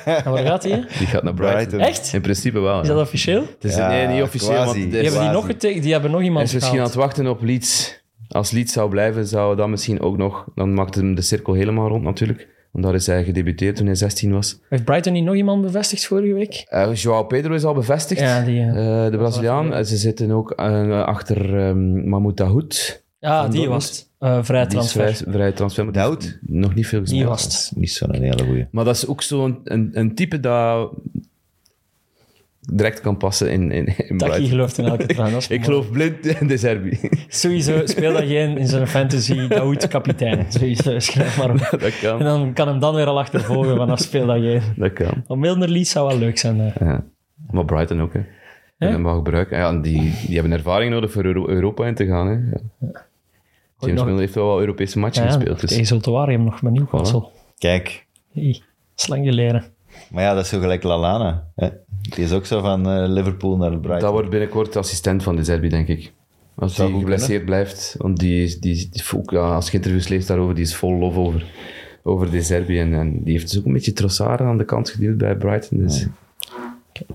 En waar gaat hij? hè? Die gaat naar Brighton. Brighton. Echt? In principe wel. Is ja. dat officieel? Die Het is, Ja, nee, niet officieel, quasi. want Die is, hebben die Quasi. nog getekend, die hebben nog hij iemand is misschien aan gehaald. het wachten op Leeds. Als Leeds zou blijven, zou dat misschien ook nog... Dan maakt hem de cirkel helemaal rond natuurlijk. Want daar is hij gedebuteerd toen hij 16 was. Heeft Brighton niet nog iemand bevestigd vorige week? Eh Joao Pedro is al bevestigd. Ja, die, eh, Eh, de Braziliaan. wel Eh, Ze zitten ook eh, achter ehm Mahmoud Dahoud. Ja, Van die Dortmund? was het. Eh, vrij Die is transfer. vrij, vrij transfer. maar die Dahoud? heeft Nog niet veel gezien. Die was het. Niet zo'n hele goeie. Maar dat is ook zo'n een, een type dat direct kan passen in, in, in Taki Brighton. gelooft in elke traan. dat is Ik mooi. geloof blind in de Serbi. Sowieso speel dat geen in zijn fantasy Daoud kapitein. Sowieso, schrijf maar op. dat En kan. dan kan hem dan weer al achtervolgen vanaf speel dat geen. Dat kan. Maar Milner Leeds zou wel leuk zijn. eh. Ja. Maar Brighton ook, hè. Ja? En mag gebruiken. Ja, en die, die hebben ervaring nodig voor Euro- Europa in te gaan. Hè. Ja. James nog- Milner heeft wel wat Europese matchen Ja, gespeeld. Dus. tegen Zultuari hem nog met Newcastle. Kijk, Hey, slang geleden. maar ja, dat is zo gelijk Lalana. Hè? Die is ook zo van eh, Liverpool naar Brighton. Dat wordt binnenkort assistent van de Zerbi, denk ik. Als Zou hij goed geblesseerd blijft. Want die, is- die, is- die is ook, ja, als je interviews leest daarover, die is vol lof over, over de Zerbi. En, en die heeft dus ook een beetje Trossard aan de kant geduwd bij Brighton. Dus. We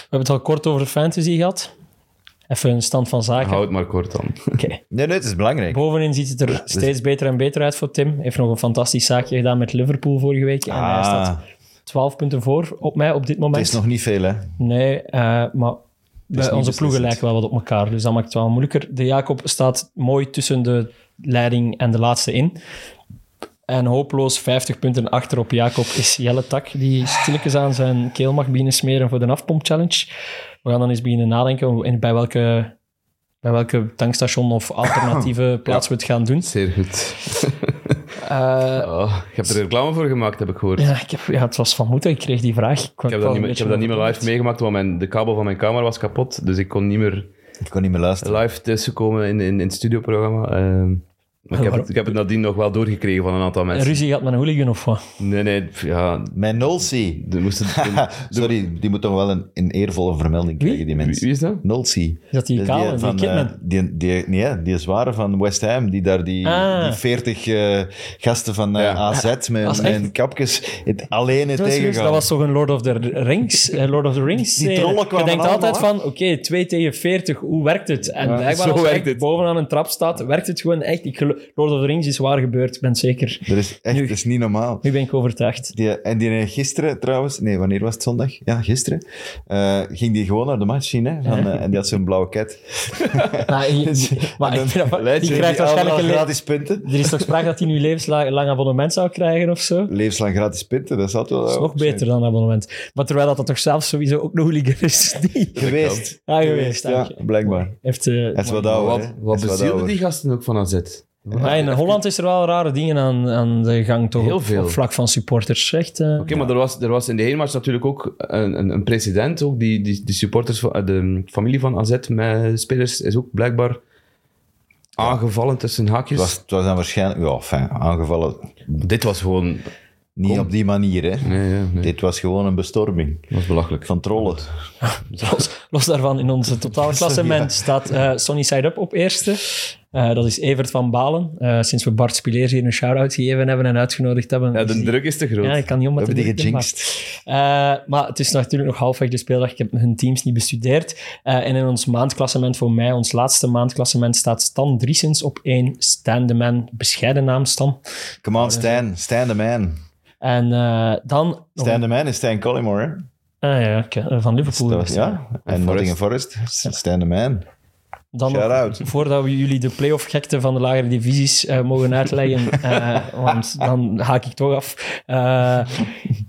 hebben het al kort over fantasy gehad. Even een stand van zaken. Hou het maar kort dan. Oké. Nee, nee, het is belangrijk. Bovenin ziet het Dus- er steeds beter en beter uit voor Tim. Heeft nog een fantastisch zaakje gedaan met Liverpool vorige week. En hij Ah. staat 12 punten voor op mij op dit Het moment. is nog niet veel, hè. Nee, eh, maar bij onze beslissend. ploegen lijken wel wat op elkaar. Dus dat maakt het wel moeilijker. De Jacob staat mooi tussen de leiding en de laatste in. En hopeloos 50 punten achter op Jacob is Jelle Tak, die stilletjes aan zijn keel mag beginnen smeren voor de afpomp challenge. We gaan dan eens beginnen nadenken in- bij welke, bij welke tankstation of alternatieve plaats we het gaan doen. Zeer goed. Eh, Oh, je hebt er reclame voor gemaakt, heb ik gehoord. ja, ik heb, ja, het was van moeten. Ik kreeg die vraag. Ik, Ik heb dat niet, meer- ik heb dat niet meer live meegemaakt, want mijn, de kabel van mijn camera was kapot. Dus ik kon niet meer Ik kon niet meer luisteren. live tussenkomen in, in, in het studioprogramma. Ehm, maar ik heb, het, ik heb het nadien nog wel doorgekregen van een aantal Een mensen. ruzie gehad met een hooligan of wat? Nee, nee, pff, ja, Mijn Nolsi. er moesten, Ha, Sorry, die moet toch wel een, een eervolle vermelding krijgen, die Wie, mens. wie is dat? Nolsi. Is dat die Dus kale, die van, kid eh, met- die, die, nee, hè, die zware van West Ham, die daar die, Ah. die 40 eh, gasten van eh, Ja. AZ met, Was met echt- hun kapjes het, alleen het Dat was, juist- tegengaan. dat was toch een Lord of the Rings? eh, Lord of the Rings Die serie. trollen Je kwamen denkt allemaal altijd af. van, oké, 2 tegen 40, hoe werkt het? En blijkbaar zo als je werkt echt het. bovenaan een trap staat, werkt het gewoon echt. Ik gelo- Lord of the Rings is waar gebeurd, ik ben het zeker. Dat is echt Nu- dat is niet normaal. Nu ben ik overtuigd. Die, en die eh, gisteren trouwens, nee, wanneer was het zondag? Ja, gisteren. eh, ging die gewoon naar de match zien, hè? Van, eh, en die had zo'n blauwe cat. Maar, Nou, je- Dus- maar ik vind dat- die krijgt waarschijnlijk een allemaal le- gratis punten. Er is toch sprake dat hij nu levenslang abonnement zou krijgen of zo? Levenslang gratis punten, dat zat wel. Dat is nog beter dan abonnement. Maar terwijl dat, dat toch zelf sowieso ook nog hooligan is. Die Geweest. Ja, geweest, Ja, eigenlijk. blijkbaar. heeft... eh, Het is wat Maar ouder. hè. Wat, Het is wat bezielde ouder. die gasten ook van AZ? maar in Holland is er wel rare dingen aan, aan de gang, toch? Heel op- veel. Op vlak van supporters. Echt, eh, Oké, maar er was, er was in de heenmatch natuurlijk ook een, een, een precedent. Ook die, die, die supporters van de familie van AZ met spelers is ook blijkbaar aangevallen tussen haakjes. Het was, het was dan waarschijnlijk, ja, fijn, aangevallen. Dit was gewoon Niet op die manier, hè. Nee, ja, nee. Dit was gewoon een bestorming Dat was belachelijk. van trollen. Los, los daarvan, in onze totaalklassement staat eh Sonny Side Up op eerste. Eh, dat is Evert van Balen. Eh, sinds we Bart Spileers hier een shout-out gegeven hebben en uitgenodigd hebben. Ja, is de die- druk is te groot. Ja, ik kan niet om We met hebben die de druk, maar- gejinxed. Eh, maar het is natuurlijk nog halfweg de speeldag. Ik heb hun teams niet bestudeerd. Eh, en in ons maandklassement voor mij, ons laatste maandklassement, staat Stan Driesens op één. Stan de Man, bescheiden naam Stan. Come on, Stijn. Stijn de man. En eh, dan... Stijn de man is Stijn Collymore, hè. Ah ja, oké, eh, van Liverpool. Dat was, ja. En Nottingham Forest. Stijn de man. Dan nog, Shout-out. voordat we jullie de playoff gekte van de lagere divisies eh, mogen uitleggen, eh, want dan haak ik toch af. Eh,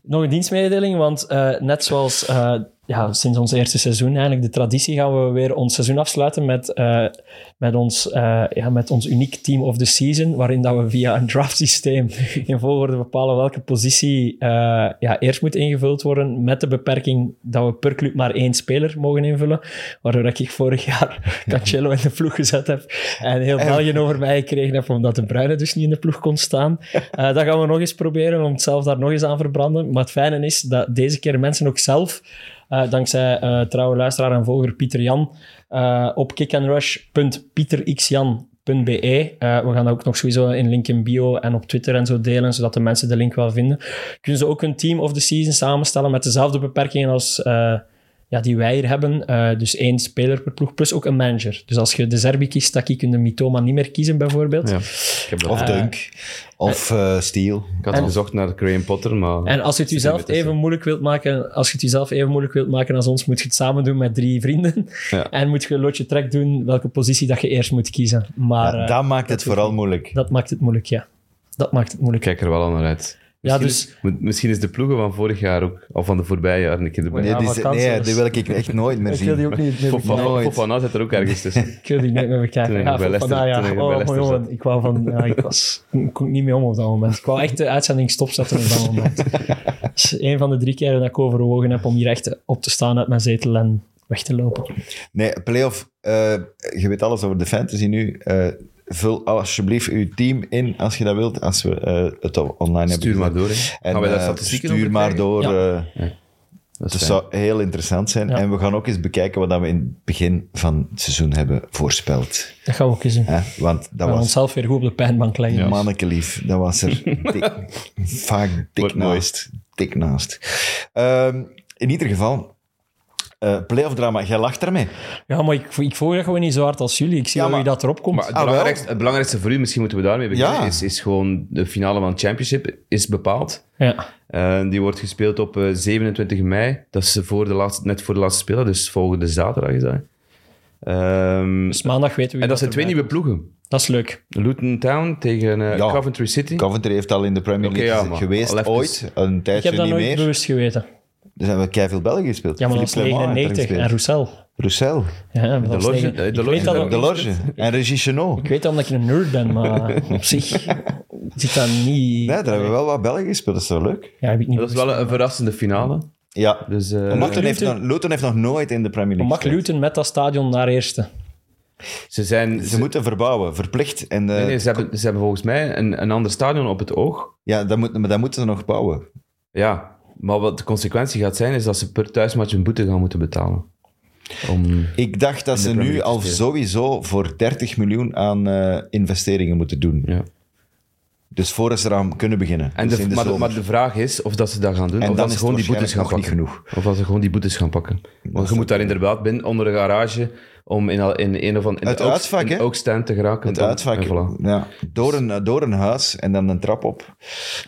nog een dienstmededeling, want eh, net zoals eh, ja, sinds ons eerste seizoen, eigenlijk de traditie, gaan we weer ons seizoen afsluiten met, eh, met, ons, eh, ja, met ons uniek team of the season, waarin dat we via een draft systeem in volgorde bepalen welke positie eh, ja, eerst moet ingevuld worden, met de beperking dat we per club maar één speler mogen invullen, waardoor ik vorig jaar Cancelo in de ploeg gezet heb en heel België over mij gekregen heb, omdat de Bruyne dus niet in de ploeg kon staan. Eh, dat gaan we nog eens proberen, om het zelf daar nog eens aan verbranden. Maar het fijne is dat deze keer mensen ook zelf, eh, dankzij eh, trouwe luisteraar en volger Pieter Jan, eh, op kickandrush.pieterxjan.be. Eh, we gaan dat ook nog sowieso in link in bio en op Twitter en zo delen, zodat de mensen de link wel vinden. Kunnen ze ook hun team of the season samenstellen met dezelfde beperkingen als... eh, ja, die wij hier hebben. Eh, dus één speler per ploeg, plus ook een manager. Dus als je de Zerbi kiest, dat kun je Mitoma niet meer kiezen, bijvoorbeeld. Ja. Ik, heb dat- Of Dunk. Of eh Steel. ik had gezocht naar Graham Potter, maar... En als je het jezelf zit er even niet tussen. moeilijk wilt maken, als je het jezelf even moeilijk wilt maken als ons, moet je het samen doen met drie vrienden. Ja. En moet je een loodje trek doen welke positie dat je eerst moet kiezen. Maar Ja, eh, dat maakt het vooral moeilijk. dat maakt het moeilijk, ja. Dat maakt het moeilijk. Ik kijk er wel aan naar uit. Ja, Misschien dus- is- moet- misschien is de ploegen van vorig jaar ook, of van de voorbije jaren, een keer erbij. Nee, Ja, die, maar zit- kansen, nee, dus- die wil ik echt nooit meer zien. ook niet. Fofana, Nooit. Fofana zit er ook ergens tussen. Ik wil die nooit meer bekijken. Toen ik Ja, bij van Leicester- vandaag, toen ik bij ja. Oh, Leicester jongen, zat. ik wou van... Ja, ik was... Ik kon niet mee om op dat moment. Ik wou echt de uitzending stopzetten op dat moment. Dat is een van de drie keren dat ik overwogen heb om hier echt op te staan uit mijn zetel en weg te lopen. Nee, playoff. eh, je weet alles over de fantasy nu. Eh, vul alsjeblieft uw team in als je dat wilt. Als we eh, het al online hebben. Stuur maar gezet. door. hè. En, Gaan wij daar eh, statistieken stuur over maar krijgen? door. Ja. eh, Dat is dat fijn. zou heel interessant zijn. Ja. En we gaan ook eens bekijken wat dat we in het begin van het seizoen hebben voorspeld. Dat gaan we ook eens doen. Hè? Want dat We gaan was onszelf weer goed op de pijnbank leggen. ja. mannekelief. Dat was er dik- vaak dik Wordt mooi. naast. Dik naast. Ehm, in ieder geval, eh playoff drama. Jij lacht daarmee. Ja, maar ik, ik volg dat gewoon niet zo hard als jullie. Ik zie Ja, wel maar- wie dat erop komt. Maar het, Ah, wel. belangrijkste, het belangrijkste voor u, misschien moeten we daarmee beginnen, Ja. is, is gewoon de finale van het championship is bepaald. ja. Eh, die wordt gespeeld op eh, 27 mei. Dat is voor de laatste, net voor de laatste speler, dus volgende zaterdag is dat. Ehm, Dus maandag weten we wie en dat erbij zijn twee nieuwe ploegen. komt. Dat is leuk. Luton Town tegen eh, Ja. Coventry City. Coventry heeft al in de Premier Oké, League ja, geze- maar geweest, al even. ooit. Een Ik heb tijdje dat niet nooit meer. Dus bewust geweten. Er zijn wel keiveel Belgen gespeeld. Ja, maar dat Philippe was Clement heeft er 99 en gespeeld. Roussel. Roussel. Ja, dat was Loge- 9. de Ik Loge- weet dat ook De niet. Lorge. En Regis Chenot. Ik weet dat omdat ik een nerd ben, maar op zich zit dat niet... Ja, daar hebben we wel wat Belgen gespeeld. Dat is wel leuk. Ja, heb ik niet Dat is wel een verrassende finale. Ja. Dus, eh, Luton heeft, nog, Luton heeft nog nooit in de Premier League Mag gespeeld. Luton met dat stadion naar eerste? ze zijn... Ze moeten verbouwen, verplicht. En, eh, nee, nee, ze, hebben, ze hebben volgens mij een, een ander stadion op het oog. Ja, dat, moet, maar dat moeten ze nog bouwen. Ja, maar wat de consequentie gaat zijn, is dat ze per thuismatch een boete gaan moeten betalen. Om... Ik dacht dat ze Premier nu League al spelen. sowieso voor 30 miljoen aan eh, investeringen moeten doen. Ja. Dus voor ze eraan kunnen beginnen. En Dus de, in de maar, de, zomer. maar de vraag is of dat ze dat gaan doen. En dan of dat ze is gewoon het die boetes gaan waarschijnlijk pakken. nog niet Of dat ze gewoon die boetes gaan pakken. Want je moet daar inderdaad binnen, onder een garage, om in, al- in een of andere... Het uitvak, hè? ook stand te geraken. het Dan- uitvak. en voilà. Ja, door, een, eh, door een huis en dan een trap op.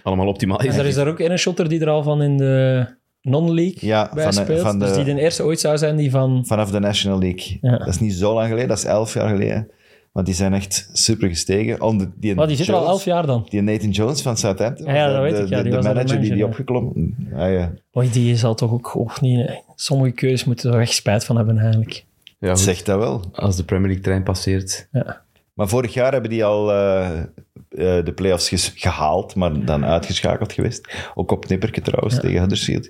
Allemaal optimaal. En er is Dus daar ook een shotter die er al van in de non-league Ja, bij van de- speelt. van de- Dus die de eerste ooit zou zijn die van... Vanaf de National League. Ja. Dat is niet zo lang geleden, dat is elf jaar geleden. Want die zijn echt super gestegen. Om de- die Maar die zit er al Jones- elf jaar dan. Die Nathan Jones van Southampton. Ja, ja, was dat de, weet ik, ja, de- die de was daar de manager die die manager, opgeklommen. Ah, Ja, ja. Oei, die zal toch ook, ook niet... hè. Sommige keuzes moeten er echt spijt van hebben, eigenlijk. Ja, goed. Zegt dat wel. Als de Premier League trein passeert. Ja. Maar vorig jaar hebben die al eh, eh, de play-offs ges- gehaald, maar dan uitgeschakeld geweest. Ook op Nipperke trouwens, tegen Huddersfield.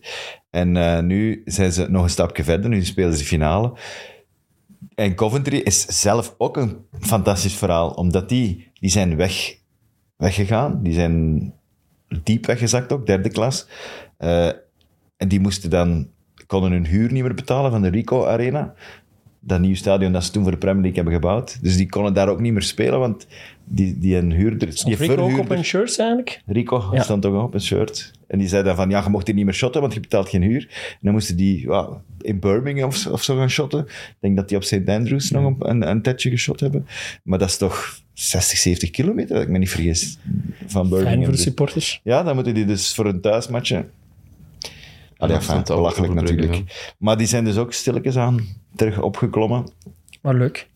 En eh, nu zijn ze nog een stapje verder, nu spelen ze finale. En Coventry is zelf ook een fantastisch verhaal, omdat die, die zijn weg, weggegaan. Die zijn diep weggezakt ook, derde klas. Eh, en die moesten dan, konden hun huur niet meer betalen van de Rico Arena. Dat nieuwe stadion dat ze toen voor de Premier League hebben gebouwd. Dus die konden daar ook niet meer spelen, want die, die een huurder... die Stond Rico ook op verhuurder- een shirt eigenlijk? Rico Ja. stond ook op een shirt. En die zei dan van, ja, je mocht hier niet meer shotten, want je betaalt geen huur. En dan moesten die ja, in Birmingham of, zo- of zo gaan shotten. Ik denk dat die op St. Andrews nog een, een, een tijdje geshot hebben. Maar dat is toch 60, 70 kilometer, dat ik me niet vergis, van Birmingham. Fijn voor de Dus- supporters. ja, dan moeten die dus voor een thuismatje... Allee, Ja, enfin, dat is belachelijk overbruggen, natuurlijk. Maar die zijn dus ook stilletjes aan terug opgeklommen. Maar leuk.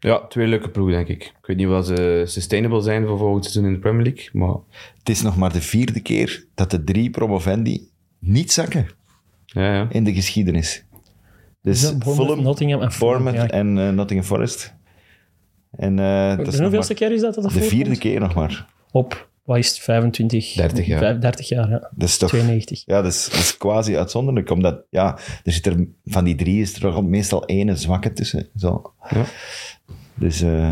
Ja, twee leuke ploegen, denk ik. Ik weet niet wat ze sustainable zijn voor volgend seizoen in de Premier League, maar Het is nog maar de vierde keer dat de drie promovendi niet zakken. ja, ja. in de geschiedenis. Dus Is dat Bournemouth, Fulham, Nottingham en Fulham, Bournemouth ja. en eh, Nottingham Forest. En, eh dat De is nog hoeveelste maar keer is dat dat dat de voorkomt? vierde keer nog maar. Op, wat is het, 25? 30 jaar. Vijf- 30 jaar, ja. Dat is toch... 92. Ja, dat is, dat is quasi uitzonderlijk, omdat ja, er zit er, van die drie is er toch meestal één zwakke tussen. Zo. Ja. Dus eh,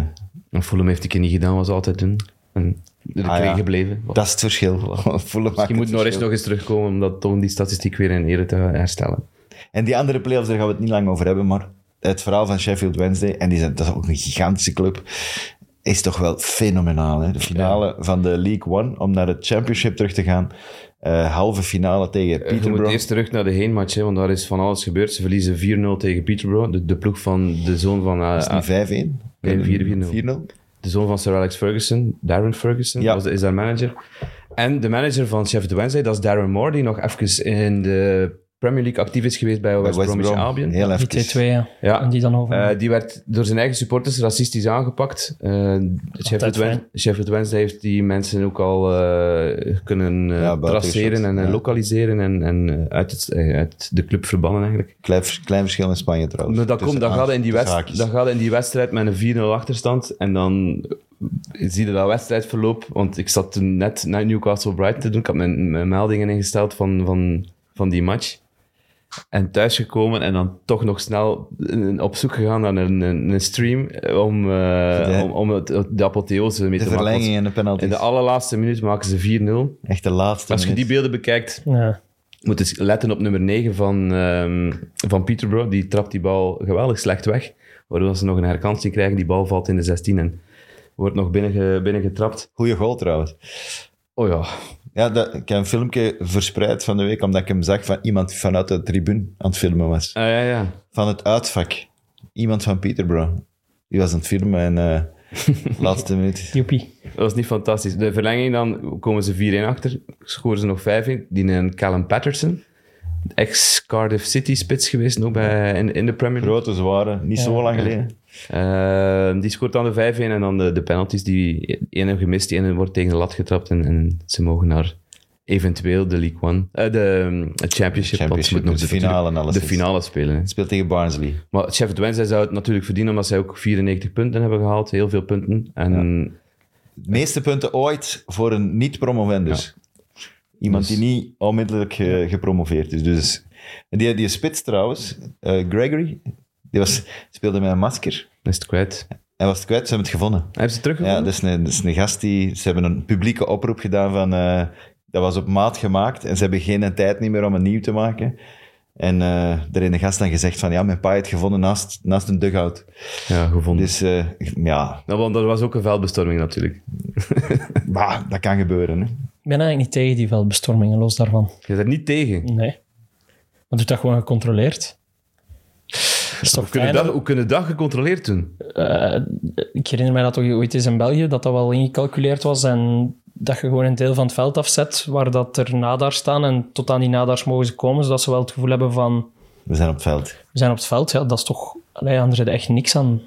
En Fulham heeft die keer niet gedaan wat ze altijd doen. En er Ah, ja. gebleven. dat is het verschil. Fulham maakt Je moet het Norris verschil. nog eens terugkomen om dat, om die statistiek weer in ere te herstellen. En die andere play-offs, daar gaan we het niet lang over hebben, maar het verhaal van Sheffield Wednesday, en die zijn, dat is ook een gigantische club, is toch wel fenomenaal. Hè? De finale van de League One, om naar het championship terug te gaan. eh, halve finale tegen Eh, Je moet Peterborough. eerst terug naar de heenmatch, hè, want daar is van alles gebeurd. Ze verliezen 4-0 tegen Peterborough, de, de ploeg van de zoon van, eh, Is het niet 5-1? Nee, 4-0. 4-0. de zoon van Sir Alex Ferguson, Darren Ferguson, Ja. was de- is daar manager. En de manager van Sheffield Wednesday, dat is Darren Moore, die nog even in de Premier League actief is geweest bij West, Bij West Bromwich Brom. Albion. Heel Die even. twee, twee, ja. Ja. En die dan over. Eh, die werd door zijn eigen supporters racistisch aangepakt. Eh, fijn. Sheffield, Wen- Sheffield Wednesday heeft die mensen ook al eh, kunnen eh, Ja, buiten traceren geschoten, en eh, ja. lokaliseren en, en eh, uit, het, eh, uit de club verbannen eigenlijk. Klein, vers- klein verschil met Spanje trouwens. Maar dat Tussen komt, dat aan- gaat in die, tussen wedst- haakjes. dat gaat in die wedstrijd met een 4-0 achterstand. En dan zie je dat wedstrijdverloop. Want ik zat toen net naar Newcastle Brighton te doen. Ik had mijn, mijn meldingen ingesteld van, van, van die match. En thuisgekomen en dan toch nog snel eh, op zoek gegaan naar een, een, een stream om, eh, De- om, om het, de apotheose mee De te maken. verlenging Want en de penalty. In de allerlaatste minuut maken ze 4-0. Echt de laatste Als je die minuut. beelden bekijkt, ja. moet eens letten op nummer 9 van, ehm, van Peterborough. Die trapt die bal geweldig slecht weg. Waardoor ze nog een herkansing krijgen. Die bal valt in de 16 en wordt nog binnenge- binnengetrapt. Goeie goal trouwens. Oh ja. Ja, dat, ik heb een filmpje verspreid van de week, omdat ik hem zag van iemand die vanuit de tribune aan het filmen was. Ah, ja, ja. van het uitvak. Iemand van Peterborough. Die was aan het filmen en eh, laatste minuut. Joepie. Dat was niet fantastisch. De verlenging dan komen ze 4-1 achter. Scoren ze nog 5 in. Die een Callum Patterson. Ex-Cardiff City spits geweest. Nog bij, in, in de Premier League. Grote, zware, niet zo lang geleden. Ehm, die scoort dan de 5-1 en dan de, de penalties. Die één heeft gemist, die ene wordt tegen de lat getrapt en, en ze mogen naar eventueel de League One, eh, de ehm, het Championship, championship, want ze moeten nog dus de finale en alles de is. finale spelen. hè. Speelt tegen Barnsley. Maar Sheffield Wednesday zou het natuurlijk verdienen omdat zij ook 94 punten hebben gehaald, heel veel punten. En De meeste punten ooit voor een niet-promovendus. Iemand die niet onmiddellijk eh, gepromoveerd is. Dus, en die, die spits trouwens, eh, Gregory, die was, speelde met een masker. is het kwijt. Hij was het kwijt, ze hebben het gevonden. Hebben ze teruggevonden? Ja, dat is, een, dat is een gast die... Ze hebben een publieke oproep gedaan van... eh, dat was op maat gemaakt en ze hebben geen tijd niet meer om het nieuw te maken. En eh er heeft een gast dan gezegd van... Ja, mijn pa heeft gevonden naast, naast een dugout. Ja, gevonden. Dus eh, ja, Nou, want er was ook een veldbestorming natuurlijk. bah, dat kan gebeuren. Hè. Ik ben eigenlijk niet tegen die veldbestormingen, los daarvan. Je bent er niet tegen. Nee. Maar doet dat gewoon gecontroleerd. Dat is toch Hoe kunnen, fijn? dat, hoe kunnen dat gecontroleerd doen? Eh, ik herinner mij dat toch ooit eens in België dat dat wel ingecalculeerd was en dat je gewoon een deel van het veld afzet waar dat er nadaars staan en tot aan die nadaars mogen ze komen, zodat ze wel het gevoel hebben van We zijn op het veld. we zijn op het veld. Ja, dat is toch... Allee, anders heb je echt niks aan.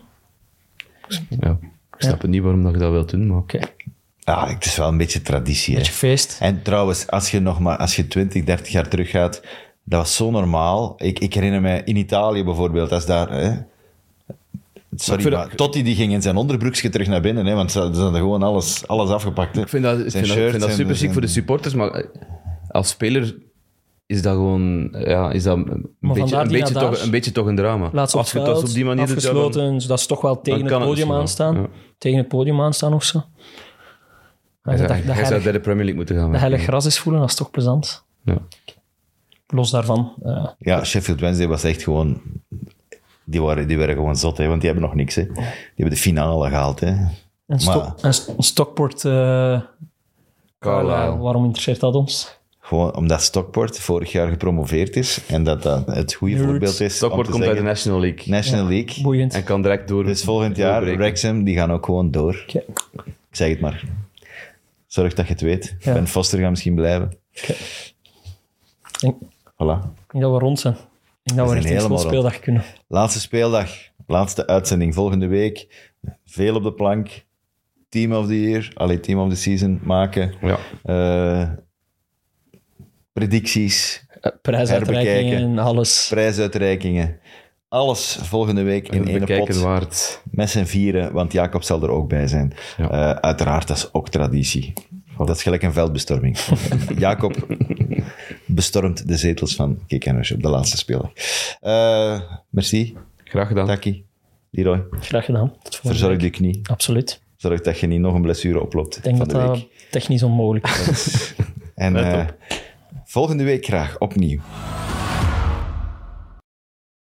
Ja, ik snap het niet waarom dat je dat wilt doen, maar... Oké, Ja, Ah, het is wel een beetje traditie. Hè. beetje feest. En trouwens, als je nog maar als je 20, 30 jaar teruggaat, dat was zo normaal. Ik, ik herinner me in Italië bijvoorbeeld, als daar. Hè, ik Sorry, vind maar dat- Totti die ging in zijn onderbroekje terug naar binnen, hè, want ze, ze hadden gewoon alles, alles afgepakt. Hè. Ik vind dat, ik vind dat, ik vind dat super ziek voor de supporters, maar eh, als speler is dat gewoon eh, ja, is dat een, Maar beetje, vandaar een, die beetje nadaars. toch, een beetje toch een drama. Laatst op als het je het als veld, op die manier doet, ja, dan- afgesloten, zodat ze toch wel tegen kan het podium het misschien wel, aanstaan. ja. Tegen het podium aanstaan of zo. Hij zou, dat- hij dat zou heilig- bij de Premier League moeten gaan. Dat heilig werken. gras is voelen, dat is toch plezant. Ja. Los daarvan. eh, Ja, Sheffield Wednesday was echt gewoon... Die waren, die waren gewoon zot, hè, want die hebben nog niks. Hè. Die hebben de finale gehaald. Hè. een, Maar- Sto- een, St- een Stockport... eh, Carlisle. eh, waarom interesseert dat ons? Gewoon omdat Stockport vorig jaar gepromoveerd is en dat dat het goede Nerds. voorbeeld is. Stockport om komt te uit de zeggen, National League. National League. Boeiend. En kan direct door. Dus volgend jaar, doorbreken. Wrexham, die gaan ook gewoon door. Oké. Ik zeg het maar. Zorg dat je het weet. Ja. Ben Foster gaat misschien blijven. Ik denk, ik Voilà. denk dat we rond zijn. Ik denk dat we, zijn richting helemaal speeldag kunnen. Laatste speeldag. Laatste uitzending volgende week. Veel op de plank. Team of the year. Allee, team of the season maken. Ja. Eh, predicties. Eh, Prijsuitreikingen en alles. Prijsuitreikingen. Alles volgende week in één pot. Bekijken waard. Met zijn vieren, want Jacob zal er ook bij zijn. Ja. Eh, uiteraard, dat is ook traditie. Dat is gelijk een veldbestorming. Jacob bestormt de zetels van Kikkenners op de laatste speler. Eh, merci, Graag gedaan. Taki. Leroy, Graag gedaan. Tot volgende verzorg week. je knie. Absoluut. Zorg dat je niet nog een blessure oploopt Ik denk van dat de week. dat technisch onmogelijk is. En eh, volgende week graag opnieuw.